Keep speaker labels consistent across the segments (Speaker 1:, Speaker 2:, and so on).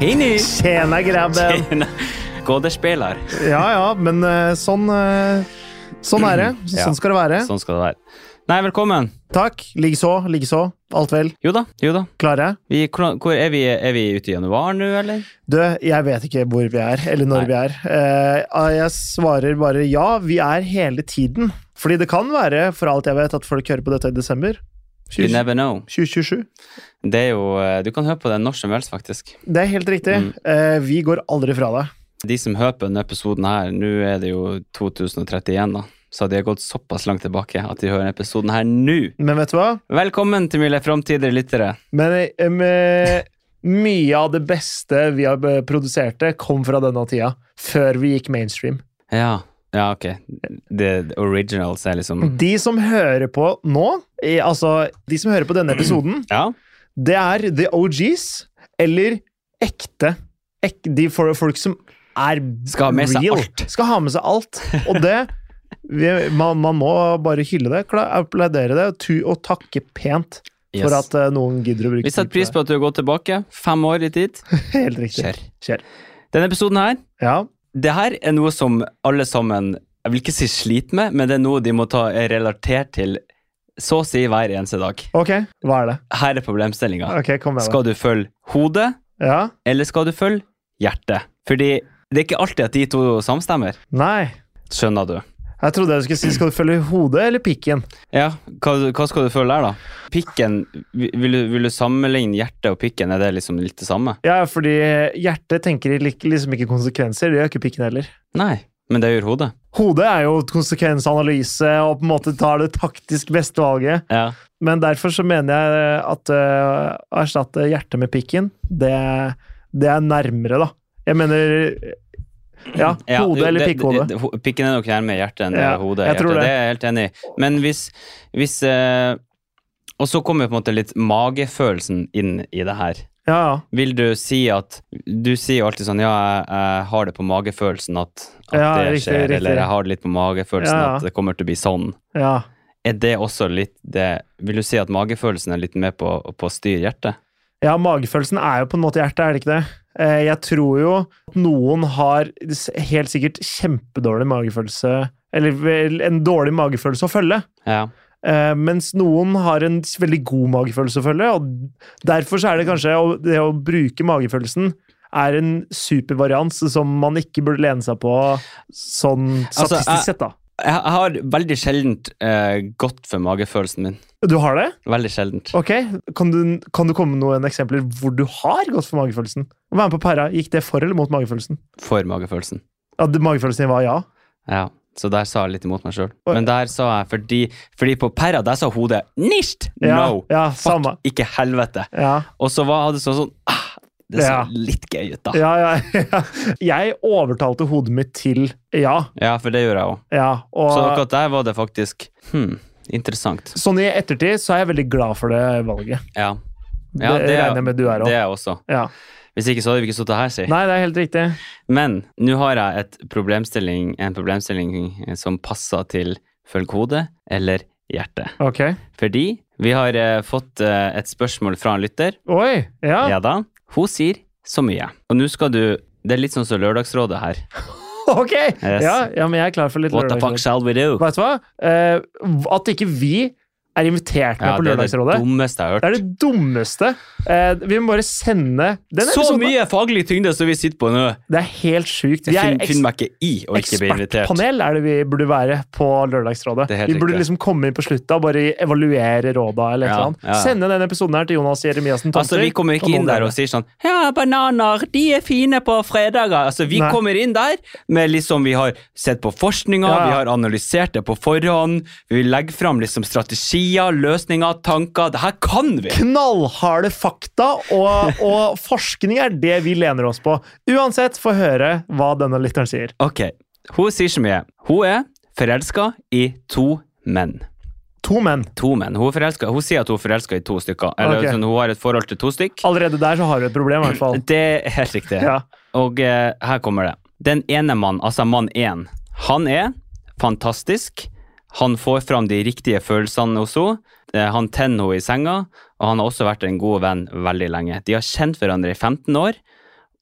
Speaker 1: Tjena, grabben.
Speaker 2: Tjena. Gådespeler.
Speaker 1: Ja, ja, men eh, sånn eh, Sånn er det.
Speaker 2: Ja.
Speaker 1: Sånn skal det være.
Speaker 2: Sånn skal det være. Nei, velkommen.
Speaker 1: Takk. Likeså, likeså. Alt vel?
Speaker 2: Jo da, jo da.
Speaker 1: Klare?
Speaker 2: Vi, hvor hvor er, vi, er vi ute i januar nå, eller?
Speaker 1: Du, jeg vet ikke hvor vi er, eller når
Speaker 2: Nei.
Speaker 1: vi er. Eh, jeg svarer bare ja, vi er hele tiden. Fordi det kan være, for alt jeg vet, at folk hører på dette i desember.
Speaker 2: You
Speaker 1: 20,
Speaker 2: never know.
Speaker 1: 2027.
Speaker 2: Det er jo, eh, du kan høre på det når som helst, faktisk.
Speaker 1: Det er helt riktig.
Speaker 2: Mm.
Speaker 1: Eh, vi går aldri fra deg.
Speaker 2: De som hører på denne episoden her, nå er det jo 2031, da. Så de har gått såpass langt tilbake at de hører episoden her nå.
Speaker 1: Men vet du hva?
Speaker 2: Velkommen til mine framtidige lyttere.
Speaker 1: Men eh, med, mye av det beste vi har eh, produserte, kom fra denne tida. Før vi gikk mainstream.
Speaker 2: Ja, ja ok. The the originals er liksom
Speaker 1: De som hører på nå, eh, altså de som hører på denne episoden,
Speaker 2: Ja,
Speaker 1: det er the OGs eller ekte. Ek, de for, folk som er
Speaker 2: Skal ha med seg
Speaker 1: real.
Speaker 2: alt.
Speaker 1: Skal ha med seg alt. Og det vi, man, man må bare hylle det, kla- applaudere det og tu, og takke pent
Speaker 2: yes.
Speaker 1: for at eh, noen gidder å bruke
Speaker 2: Vi setter pris på at du har gått tilbake fem år i tid.
Speaker 1: det. Helt riktig.
Speaker 2: Kjør.
Speaker 1: Kjør.
Speaker 2: Denne episoden her,
Speaker 1: Ja.
Speaker 2: det her er noe som alle sammen Jeg vil ikke si sliter med, men det er noe de må ta er relatert til så å si hver eneste dag.
Speaker 1: Ok, hva er det?
Speaker 2: Her er problemstillinga.
Speaker 1: Ok, kom med det.
Speaker 2: Skal du følge hodet,
Speaker 1: Ja?
Speaker 2: eller skal du følge hjertet? Fordi det er ikke alltid at de to samstemmer.
Speaker 1: Nei.
Speaker 2: Skjønner du?
Speaker 1: Jeg trodde jeg skulle si skal du følge hodet eller pikken.
Speaker 2: Ja, hva, hva skal du følge der, da? Pikken vi- Vil du, vil du sammenligne hjertet og pikken? Er det liksom litt det samme?
Speaker 1: Ja, fordi hjertet tenker lik- liksom ikke konsekvenser, det gjør ikke pikken heller.
Speaker 2: Nei, men det gjør hodet.
Speaker 1: Hodet er jo konsekvensanalyse og på en måte tar det taktisk beste valget.
Speaker 2: Ja.
Speaker 1: Men derfor så mener jeg at øh, å erstatte hjertet med pikken, det, det er nærmere, da. Jeg mener Ja,
Speaker 2: Ja,
Speaker 1: hode
Speaker 2: jo,
Speaker 1: eller
Speaker 2: det-
Speaker 1: pikkhode.
Speaker 2: det- det- ho- Pikken er nok nærmere hjertet enn
Speaker 1: Ja,
Speaker 2: hodet.
Speaker 1: jeg
Speaker 2: Hjertet.
Speaker 1: tror
Speaker 2: Det.
Speaker 1: det.
Speaker 2: er jeg helt enig i. Men hvis, hvis eh, Og så kommer på en måte litt magefølelsen inn i det her.
Speaker 1: Ja, ja.
Speaker 2: Vil du si at Du sier jo alltid sånn Ja, jeg, jeg har det på magefølelsen at, at
Speaker 1: Ja,
Speaker 2: det
Speaker 1: riktig,
Speaker 2: skjer,
Speaker 1: riktig.
Speaker 2: eller jeg har det litt på magefølelsen
Speaker 1: Ja, ja.
Speaker 2: at det kommer til å bli sånn.
Speaker 1: ja.
Speaker 2: Er det også litt det Vil du si at magefølelsen er litt med på, på å styre hjertet?
Speaker 1: Ja, magefølelsen er jo på en måte hjertet, er det ikke det? Eh, Jeg tror jo at noen har s- helt sikkert kjempedårlig magefølelse, eller vel en dårlig magefølelse å følge.
Speaker 2: Ja.
Speaker 1: Eh, mens noen har en s- veldig god magefølelse å følge, og derfor så er det kanskje å, det å bruke magefølelsen er en supervarians som man ikke burde lene seg på sånn
Speaker 2: Altså,
Speaker 1: statistisk
Speaker 2: jeg-
Speaker 1: sett, da.
Speaker 2: Jeg, jeg har veldig sjeldent eh, gått for magefølelsen min.
Speaker 1: Du har det?
Speaker 2: Veldig sjeldent.
Speaker 1: Ok. Kan du, kan du komme med noen eksempler hvor du har gått for magefølelsen? Vær med på pæra. Gikk det for eller mot magefølelsen?
Speaker 2: For magefølelsen.
Speaker 1: Ja, det- magefølelsen din var ja?
Speaker 2: Ja, så der sa jeg litt imot meg sjøl.
Speaker 1: Oi.
Speaker 2: Men der sa jeg fordi, fordi på pæra, der sa hodet NIST!
Speaker 1: Ja,
Speaker 2: No!
Speaker 1: ja samme.
Speaker 2: Ikke helvete!
Speaker 1: Ja,
Speaker 2: Og så var, hadde det sånn sånn ah, Det så
Speaker 1: Ja.
Speaker 2: litt gøy ut, da. Ja.
Speaker 1: ja, ja, ja. Jeg overtalte hodet mitt til ja.
Speaker 2: for det gjorde jeg òg.
Speaker 1: ja
Speaker 2: Så
Speaker 1: og
Speaker 2: akkurat der var det faktisk Hm, interessant.
Speaker 1: sånn i ettertid så er jeg veldig glad for det valget.
Speaker 2: Ja.
Speaker 1: Det, regner jeg med du er
Speaker 2: Det
Speaker 1: òg.
Speaker 2: er jeg også.
Speaker 1: Ja.
Speaker 2: Hvis ikke så hadde vi ikke sittet her, si.
Speaker 1: Nei, det er helt riktig.
Speaker 2: Men nå har jeg et problemstilling, en problemstilling eh, som passer til følg hodet eller hjertet.
Speaker 1: Ok.
Speaker 2: Fordi vi har eh, fått eh, et spørsmål fra en lytter.
Speaker 1: Oi! Ja.
Speaker 2: Ja da. Hun sier så mye. Og nå skal du Det er litt sånn som Lørdagsrådet her.
Speaker 1: Ok! Ja, ja, men jeg er klar for litt
Speaker 2: What the fuck
Speaker 1: lørdagsråd.
Speaker 2: shall we do?
Speaker 1: Vet du hva? Eh, at ikke vi er invitert med
Speaker 2: Ja, det er
Speaker 1: på
Speaker 2: det
Speaker 1: Lørdagsrådet,
Speaker 2: dummeste jeg
Speaker 1: det
Speaker 2: har
Speaker 1: er
Speaker 2: hørt.
Speaker 1: det dummeste. Eh, vi må bare sende den
Speaker 2: Så
Speaker 1: episoden-
Speaker 2: mye faglig tyngde som vi sitter på nå!
Speaker 1: Det er helt sjukt.
Speaker 2: Jeg
Speaker 1: Vi liksom- er
Speaker 2: finner, finner meg ikke i å ikke bli invitert.
Speaker 1: Ekspertpanel er det vi burde være på Lørdagsrådet.
Speaker 2: Det er helt
Speaker 1: Vi burde
Speaker 2: riktig.
Speaker 1: liksom komme inn på slutta og bare evaluere råda eller et
Speaker 2: Ja,
Speaker 1: eller annet.
Speaker 2: ja, ja.
Speaker 1: Sende denne episoden her til Jonas Jeremiassen
Speaker 2: Altså, Vi kommer ikke inn der og sier sånn Ja, bananer, de er fine på fredager. Altså, Vi
Speaker 1: Nei.
Speaker 2: kommer inn der med liksom Vi har sett på forskninga,
Speaker 1: Ja, ja.
Speaker 2: vi har analysert det på forhånd. Vi legger fram liksom strategier, løsninger, tanker. Det her kan vi!
Speaker 1: Knallharde fakta og, og forskning er det vi lener oss på. Uansett, få høre hva denne lytteren sier.
Speaker 2: Ok, hun sier så mye. Hun er forelska i to menn.
Speaker 1: To menn.
Speaker 2: To menn. Hun, er forelska- hun sier at hun er forelska i to stykker. Eller
Speaker 1: Ok.
Speaker 2: sånn, hun har et forhold til to stykk.
Speaker 1: Allerede der så har du et problem, i hvert fall.
Speaker 2: Det er helt riktig.
Speaker 1: Ja.
Speaker 2: Og eh, her kommer det. Den ene mann, altså mann én, han er fantastisk. Han får fram de riktige følelsene hos henne. Eh, Han tenner henne i senga, og han har også vært en god venn veldig lenge. De har kjent hverandre i 15 år,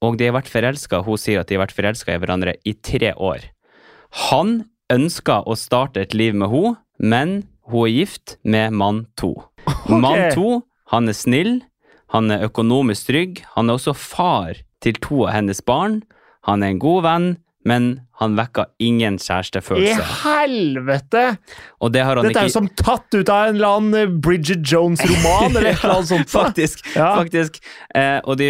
Speaker 2: og de har vært forelska. Hun sier at de har vært forelska i hverandre i tre år. Han ønsker å starte et liv med henne, men hun er gift med mann to. Mann to, han er snill, han er økonomisk trygg, han er også far til to av hennes barn. Han er en god venn, men han vekker ingen
Speaker 1: I
Speaker 2: kjærestefølelse.
Speaker 1: helvete!
Speaker 2: Og det har han
Speaker 1: Dette er jo
Speaker 2: ikke
Speaker 1: som tatt ut av en eller annen eh, Bridget Jones-roman eller et eller annet sånt. da.
Speaker 2: Faktisk.
Speaker 1: Ja.
Speaker 2: faktisk. Eh, og de,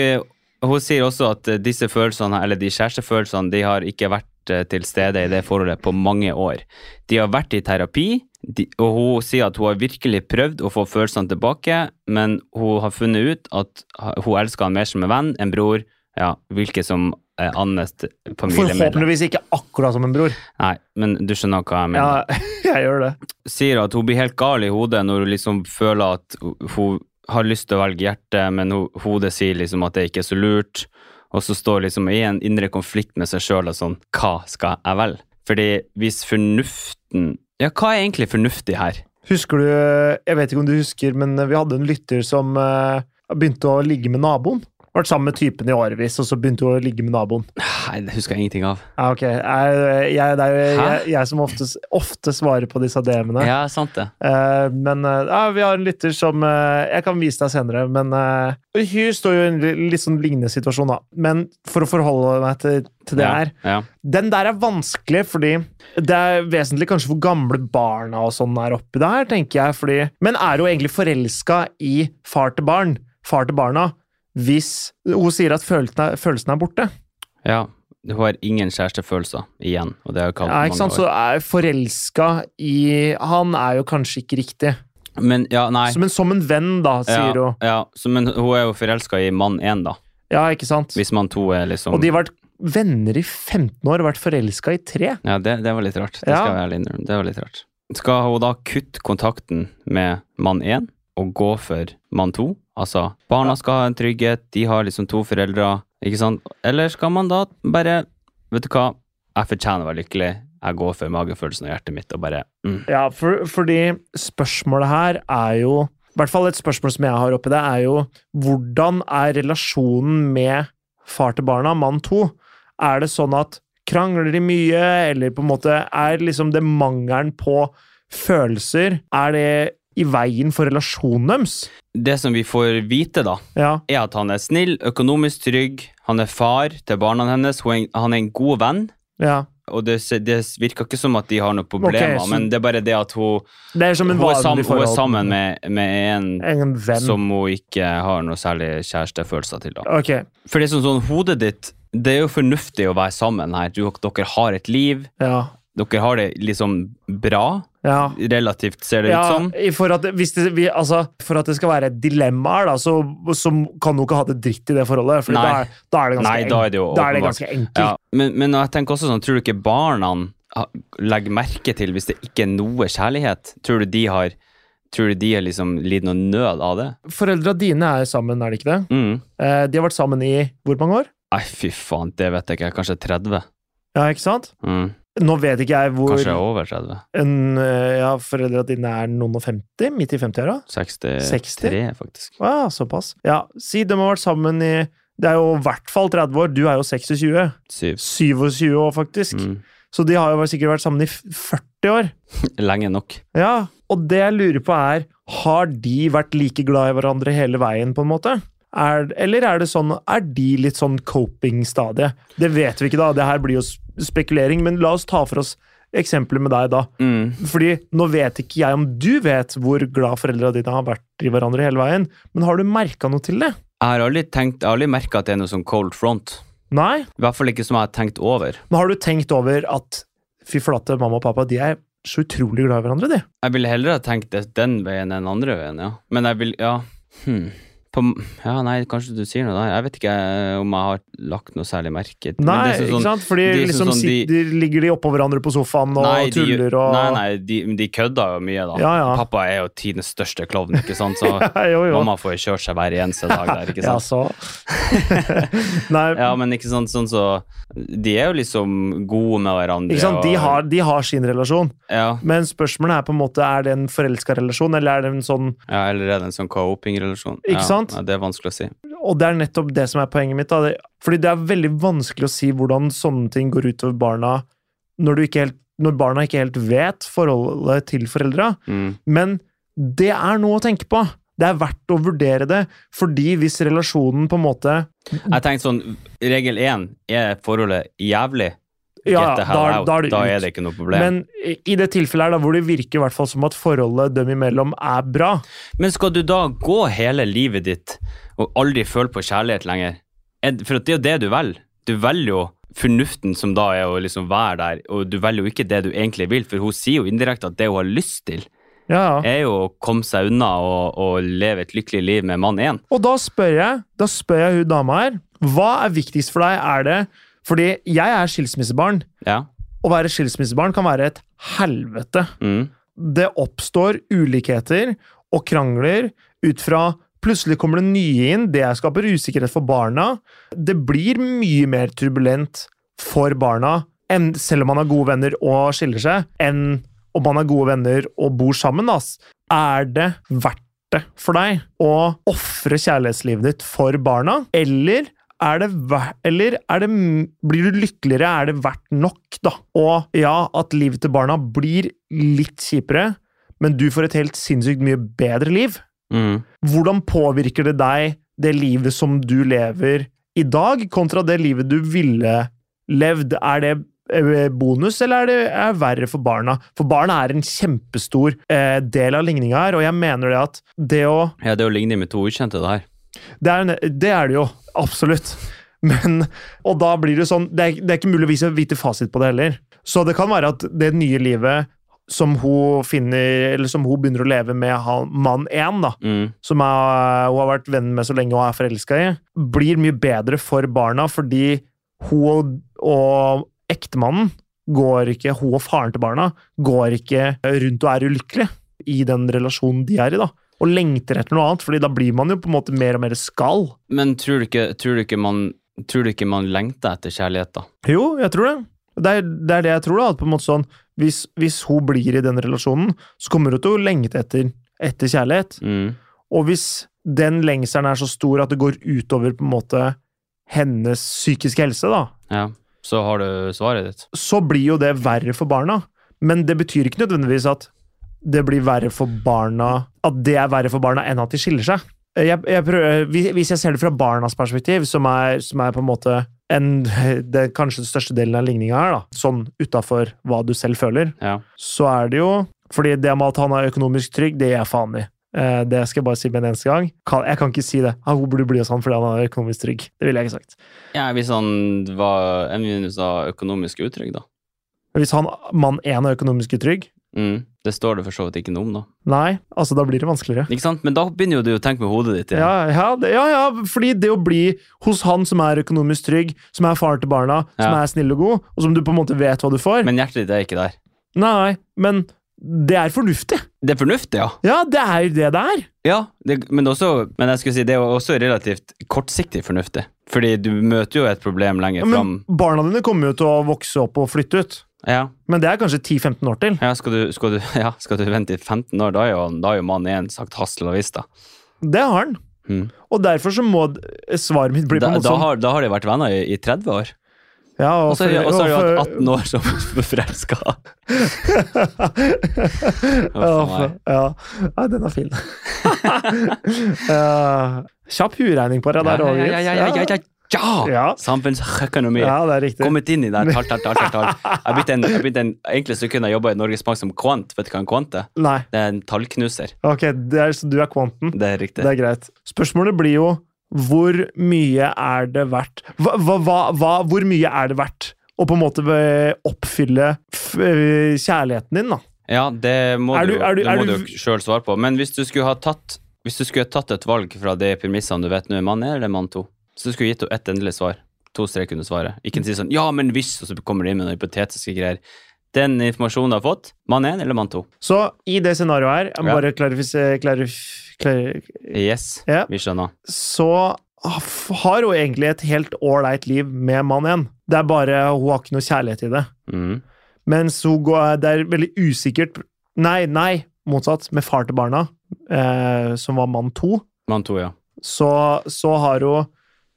Speaker 2: hun sier også at eh, disse følelsene, eller de kjærestefølelsene, de har ikke vært eh, til stede i det forholdet på mange år. De har vært i terapi, de, og hun sier at hun har virkelig prøvd å få følelsene tilbake, men hun har funnet ut at ha- hun elsker han mer som en venn, en bror, ja, hvilket som eh, annet familiemedlem.
Speaker 1: Forhåpentligvis ikke akkurat som en bror.
Speaker 2: Nei, men du skjønner hva jeg mener
Speaker 1: Ja, jeg gjør det.
Speaker 2: sier at hun blir helt gal i hodet når hun liksom føler at hun har lyst til å velge hjertet, men ho- hodet sier liksom at det ikke er så lurt. Og så står liksom i en indre konflikt med seg sjøl og sånn Hva skal jeg velge? Fordi hvis fornuften Ja, hva er egentlig fornuftig her?
Speaker 1: Husker du Jeg vet ikke om du husker, men eh, vi hadde en lytter som eh, begynte å ligge med naboen. Vært sammen med typen i årevis, og så begynte hun å ligge med naboen.
Speaker 2: Nei, det husker jeg ingenting av.
Speaker 1: Ja, ok. Jeg, jeg, det er jo jeg,
Speaker 2: Hæ?
Speaker 1: jeg som ofte, ofte svarer på disse DM-ene.
Speaker 2: Ja, sant det.
Speaker 1: Eh, men eh, ja, vi har en lytter som eh, Jeg kan vise deg senere, men eh, Hun står jo i en li- litt sånn lignende situasjon, da. Men for å forholde meg til, til det her
Speaker 2: Ja,
Speaker 1: Den der er vanskelig, fordi det er vesentlig kanskje hvor gamle barna og sånn er oppi det her, tenker jeg. Fordi, men er hun egentlig forelska i far til barn, far til barna, hvis hun sier at følelsen er, følelsen er borte?
Speaker 2: ja. ja. Hun har ingen kjærestefølelser igjen, og det har jeg kalt
Speaker 1: Ja,
Speaker 2: det
Speaker 1: ikke sant?
Speaker 2: mange
Speaker 1: Så
Speaker 2: år.
Speaker 1: er forelska i Han er jo kanskje ikke riktig.
Speaker 2: Men ja, nei.
Speaker 1: Så, men som en venn, da, sier
Speaker 2: ja,
Speaker 1: hun.
Speaker 2: ja, så, men hun er jo forelska i mann én, da.
Speaker 1: Ja, ikke sant?
Speaker 2: Hvis mann to er liksom
Speaker 1: Og de har vært venner i 15 år og vært forelska i tre.
Speaker 2: Ja, det, det var litt rart. Det
Speaker 1: Ja.
Speaker 2: skal jeg ærlig innrømme. Det var litt rart. Skal hun da kutte kontakten med mann én og gå for mann to? Altså, barna skal ha en trygghet, de har liksom to foreldre, ikke sant? Eller skal man da bare Vet du hva, jeg fortjener å være lykkelig. Jeg går for magefølelsen og hjertet mitt og bare mm.
Speaker 1: Ja, for, fordi spørsmålet her er jo I hvert fall et spørsmål som jeg har oppi det, er jo hvordan er relasjonen med far til barna, mann to? Er det sånn at krangler de mye, eller på en måte er liksom det mangelen på følelser Er det i veien for relasjonen deres?
Speaker 2: Det som vi får vite, da,
Speaker 1: Ja.
Speaker 2: er at han er snill, økonomisk trygg, han er far til barna hennes, hun er en- han er en god venn.
Speaker 1: ja.
Speaker 2: Og det, det virker ikke som at de har noen problemer,
Speaker 1: så-
Speaker 2: men det er bare det at hun
Speaker 1: Det er som en
Speaker 2: hun er, sam,
Speaker 1: vanlig
Speaker 2: hun er
Speaker 1: forhold.
Speaker 2: sammen med, med en
Speaker 1: En venn.
Speaker 2: som hun ikke har noe særlig kjærestefølelser til. Da.
Speaker 1: Ok.
Speaker 2: For det er sånn, sånn, hodet ditt Det er jo fornuftig å være sammen her. Du, dere har et liv.
Speaker 1: Ja.
Speaker 2: Dere har det liksom bra,
Speaker 1: Ja.
Speaker 2: relativt ser det
Speaker 1: ja,
Speaker 2: ut som.
Speaker 1: i- For at, hvis det, vi, altså, for at det skal være dilemmaer, da, så, så kan du ikke ha det dritt i det forholdet. For
Speaker 2: Nei.
Speaker 1: da, er- da er det ganske,
Speaker 2: Nei, da er det jo
Speaker 1: en- da er det
Speaker 2: åpenbart.
Speaker 1: ganske enkelt.
Speaker 2: Ja, men, men jeg tenker også sånn, tror du ikke barna ha- legger merke til hvis det ikke er noe kjærlighet? Tror du de har Tror du de har liksom lider noe nød av det?
Speaker 1: Foreldra dine er sammen, er det ikke det?
Speaker 2: Mm.
Speaker 1: Eh, de har vært sammen i hvor mange år?
Speaker 2: Nei, fy faen, det vet jeg ikke. Kanskje 30?
Speaker 1: Ja, ikke sant?
Speaker 2: Mm.
Speaker 1: Nå vet ikke jeg hvor
Speaker 2: Kanskje over 30?
Speaker 1: en, eh, ja, Foreldra dine er noen og femti? Midt i 50-åra?
Speaker 2: 63,
Speaker 1: 60?
Speaker 2: faktisk.
Speaker 1: Ja, såpass. Ja, si de har vært sammen i Det er jo i hvert fall 30 år. Du er jo 26.
Speaker 2: 7.
Speaker 1: 27 år, faktisk.
Speaker 2: Mm.
Speaker 1: Så de har jo sikkert vært sammen i f- 40 år.
Speaker 2: Lenge nok.
Speaker 1: Ja, og det jeg lurer på er, har de vært like glad i hverandre hele veien, på en måte? Er, eller er det sånn, er de litt sånn coping-stadie? Det vet vi ikke, da. Det her blir jo s- spekulering, men la oss ta for oss eksempler med deg, da.
Speaker 2: Mm.
Speaker 1: Fordi nå vet ikke jeg om du vet hvor glad foreldra dine har vært i hverandre hele veien, men har du merka noe til det?
Speaker 2: Jeg har aldri, tenkt- jeg har aldri merka at det er noe sånn cold front.
Speaker 1: Nei?
Speaker 2: I hvert fall ikke som jeg har tenkt over.
Speaker 1: Men har du tenkt over at fy flate, mamma og pappa, de er så utrolig glad i hverandre, de?
Speaker 2: Jeg ville heller ha tenkt det den veien enn andre veien, ja. Men jeg vil Ja. Hmm. På, m- ja, nei, kanskje du sier noe der. Jeg vet ikke eh, om jeg har lagt noe særlig merke til men
Speaker 1: Nei,
Speaker 2: det er sånn-
Speaker 1: ikke sant? Fordi
Speaker 2: det er
Speaker 1: liksom
Speaker 2: sånn de-
Speaker 1: sitter, ligger de oppå hverandre på sofaen og
Speaker 2: Nei, de,
Speaker 1: tuller og
Speaker 2: nei, nei de, men de kødda jo mye, da.
Speaker 1: Ja, ja.
Speaker 2: Pappa er jo tidens største klovn, ikke sant, så
Speaker 1: jo, jo.
Speaker 2: mamma får jo kjørt seg hver eneste dag der, ikke sant.
Speaker 1: Ja, så. nei,
Speaker 2: Ja, men ikke sant, sånn så De er jo liksom gode med hverandre.
Speaker 1: ikke sant? De
Speaker 2: og-
Speaker 1: har, de har sin relasjon,
Speaker 2: ja,
Speaker 1: men spørsmålet er på en måte er det en forelska relasjon, eller er det en sånn
Speaker 2: ja, eller er det en sånn coping-relasjon? ja,
Speaker 1: Ikke sant?
Speaker 2: Ja, det er vanskelig å si.
Speaker 1: Og det er nettopp det som er poenget mitt. Da. Det- Fordi det er veldig vanskelig å si hvordan sånne ting går utover barna når, du ikke helt, når barna ikke helt vet forholdet til foreldra.
Speaker 2: Mm.
Speaker 1: Men det er noe å tenke på. Det er verdt å vurdere det, fordi hvis relasjonen på en måte
Speaker 2: Jeg tenkte sånn, regel én er forholdet jævlig.
Speaker 1: Ja,
Speaker 2: Get the
Speaker 1: ja,
Speaker 2: hell
Speaker 1: da, er-
Speaker 2: out.
Speaker 1: da er det ut.
Speaker 2: det ikke noe problem. Men,
Speaker 1: Men i i det tilfellet her, da, hvor det virker i hvert fall som at forholdet dem imellom er bra,
Speaker 2: skal du da gå hele livet ditt og aldri føle på kjærlighet lenger? Er- For at det er jo det du velger. Du velger jo fornuften som da er å liksom være der, og du velger jo ikke det du egentlig vil, for hun sier jo indirekte at det hun har lyst til,
Speaker 1: ja, ja.
Speaker 2: er jo å komme seg unna og, og leve et lykkelig liv med mann én.
Speaker 1: Og da spør jeg, da spør jeg hun dama her, hva er viktigst for deg? Er det Fordi jeg er skilsmissebarn.
Speaker 2: Ja.
Speaker 1: Å være skilsmissebarn kan være et helvete.
Speaker 2: Mm.
Speaker 1: Det oppstår ulikheter og krangler ut fra Plutselig kommer det nye inn, det skaper usikkerhet for barna. Det blir mye mer turbulent for barna, enn, selv om man er gode venner og skiller seg, enn om man er gode venner og bor sammen. Ass. Er det verdt det for deg å ofre kjærlighetslivet ditt for barna, eller er det, ver- eller er det, m- blir du lykkeligere? Er det verdt nok, da? Og ja, at livet til barna blir litt kjipere, men du får et helt sinnssykt mye bedre liv.
Speaker 2: Mm.
Speaker 1: Hvordan påvirker det deg, det livet som du lever i dag, kontra det livet du ville levd? Er det eh, bonus, eller er det er det verre for barna? For barna er en kjempestor eh, del av ligninga her, og jeg mener det at det å
Speaker 2: Ja, det er jo lignende med to ukjente, det her.
Speaker 1: det er, det er det jo, absolutt. Men, og da blir det sånn, det er, det er ikke mulig å vise, vite fasit på det heller. Så det kan være at det nye livet som hun finner, eller som hun begynner å leve med han, mann én, da,
Speaker 2: Mm.
Speaker 1: som er, hun har vært venn med så lenge hun er forelska i, blir mye bedre for barna fordi hun og, og ektemannen går ikke, hun og faren til barna går ikke rundt og er ulykkelige i den relasjonen de er i, da. Og lengter etter noe annet, fordi da blir man jo på en måte mer og mer skall.
Speaker 2: Men tror du ikke, tror du ikke, man, tror du ikke man lengter etter kjærlighet, da?
Speaker 1: Jo, jeg tror det. Det er det, er det jeg tror, da. At på en måte sånn, hvis, hvis hun blir i den relasjonen, så kommer hun til å lengte etter, etter kjærlighet.
Speaker 2: Mm.
Speaker 1: Og hvis den lengselen er så stor at det går utover på en måte hennes psykiske helse, da,
Speaker 2: Ja. Så har du svaret ditt.
Speaker 1: så blir jo det verre for barna. Men det betyr ikke nødvendigvis at det blir verre for barna At det er verre for barna enn at de skiller seg. Jeg, jeg prøver, hvis- hvis jeg ser det fra barnas perspektiv, som er, som er på en måte en, det, kanskje den største delen av ligninga her, da, sånn utafor hva du selv føler,
Speaker 2: Ja.
Speaker 1: så er det jo Fordi det med at han er økonomisk trygg, det gir jeg faen i. Eh, Det skal jeg bare si med en eneste gang. Kan, jeg kan ikke si det. Ah, Hun burde bli hos han fordi han er økonomisk trygg. Det ville jeg ikke sagt.
Speaker 2: ja hvis han var en minus av økonomisk utrygg, da.
Speaker 1: Hvis han, mann én er økonomisk utrygg,
Speaker 2: Mm. Det står det for så vidt ikke noe om, da.
Speaker 1: nei, altså da blir det vanskeligere.
Speaker 2: Ikke sant? Men da begynner jo du å tenke med hodet ditt igjen.
Speaker 1: Ja, ja, det, ja, ja, fordi det å bli hos han som er økonomisk trygg, som er far til barna, som
Speaker 2: Ja.
Speaker 1: er snill og god, og som du på en måte vet hva du får
Speaker 2: Men hjertet ditt er ikke der.
Speaker 1: Nei, men det er fornuftig.
Speaker 2: Det er fornuftig, ja.
Speaker 1: Ja, det er jo det det er.
Speaker 2: ja det, men, også, men jeg skulle si det er jo også relativt kortsiktig fornuftig. Fordi du møter jo et problem lenger
Speaker 1: Ja, men
Speaker 2: fram.
Speaker 1: barna dine kommer jo til å vokse opp og flytte ut.
Speaker 2: Ja.
Speaker 1: Men det er kanskje 10-15 år til.
Speaker 2: Ja, skal, du, skal, du, ja, skal du vente i 15 år? Da er jo, da er jo mann én sagt hassel og vista.
Speaker 1: Det har han.
Speaker 2: Mm.
Speaker 1: Og derfor så må d- svaret mitt bli på
Speaker 2: Da,
Speaker 1: en måte
Speaker 2: da,
Speaker 1: sånn.
Speaker 2: har, da har de vært venner i, i 30 år.
Speaker 1: Ja,
Speaker 2: Og så har de- og så har de
Speaker 1: og
Speaker 2: hatt
Speaker 1: for-
Speaker 2: 18 år som forelska.
Speaker 1: Ja,
Speaker 2: Huff a meg.
Speaker 1: for- ja. Nei, den er fin. Eh, kjapp huregning på deg der
Speaker 2: Ja,
Speaker 1: òg,
Speaker 2: ja, ja, ja, ja, ja, ja.
Speaker 1: Ja.
Speaker 2: Samfunnsøkonomi.
Speaker 1: Ja, det er riktig.
Speaker 2: Kommet inn i det her tall, tall, tall. tall, tall. Jeg begynte en, jeg begynte en enkle sekund jeg jobba i Norges Bank som kvant. Vet du hva en kvant er?
Speaker 1: Nei.
Speaker 2: Det er en tallknuser.
Speaker 1: Ok, det er, så du er kvanten.
Speaker 2: Det er
Speaker 1: Det
Speaker 2: riktig.
Speaker 1: er greit. Spørsmålet blir jo hvor mye er det verdt hva, hva, hva, hva- Hvor mye er det verdt å på en måte eh, oppfylle f eh, kjærligheten din, da?
Speaker 2: Ja, det må
Speaker 1: Er
Speaker 2: du,
Speaker 1: du- er du-
Speaker 2: det må
Speaker 1: er
Speaker 2: du
Speaker 1: du-
Speaker 2: jo sjøl svare på. Men hvis du skulle ha tatt Hvis du skulle ha tatt et valg fra de premissene du vet nå, er mann én eller mann to? Så du skulle gitt henne ett endelig svar. To strek under svaret. Ikke si sånn 'ja, men hvis', og så kommer du inn med noen hypotetiske greier. Den informasjonen du har fått, mann én eller mann to?
Speaker 1: Så i det scenarioet her, jeg må
Speaker 2: Ja.
Speaker 1: bare klarifisere klarif, klarif,
Speaker 2: Yes,
Speaker 1: Ja.
Speaker 2: vi skjønner.
Speaker 1: Så f- har hun egentlig et helt ålreit liv med mann igjen. Det er bare hun har ikke noe kjærlighet i det.
Speaker 2: Mm.
Speaker 1: Mens hun går, det er veldig usikkert Nei, nei, motsatt, med far til barna, eh, som var mann to.
Speaker 2: Mann to, ja.
Speaker 1: så, så har hun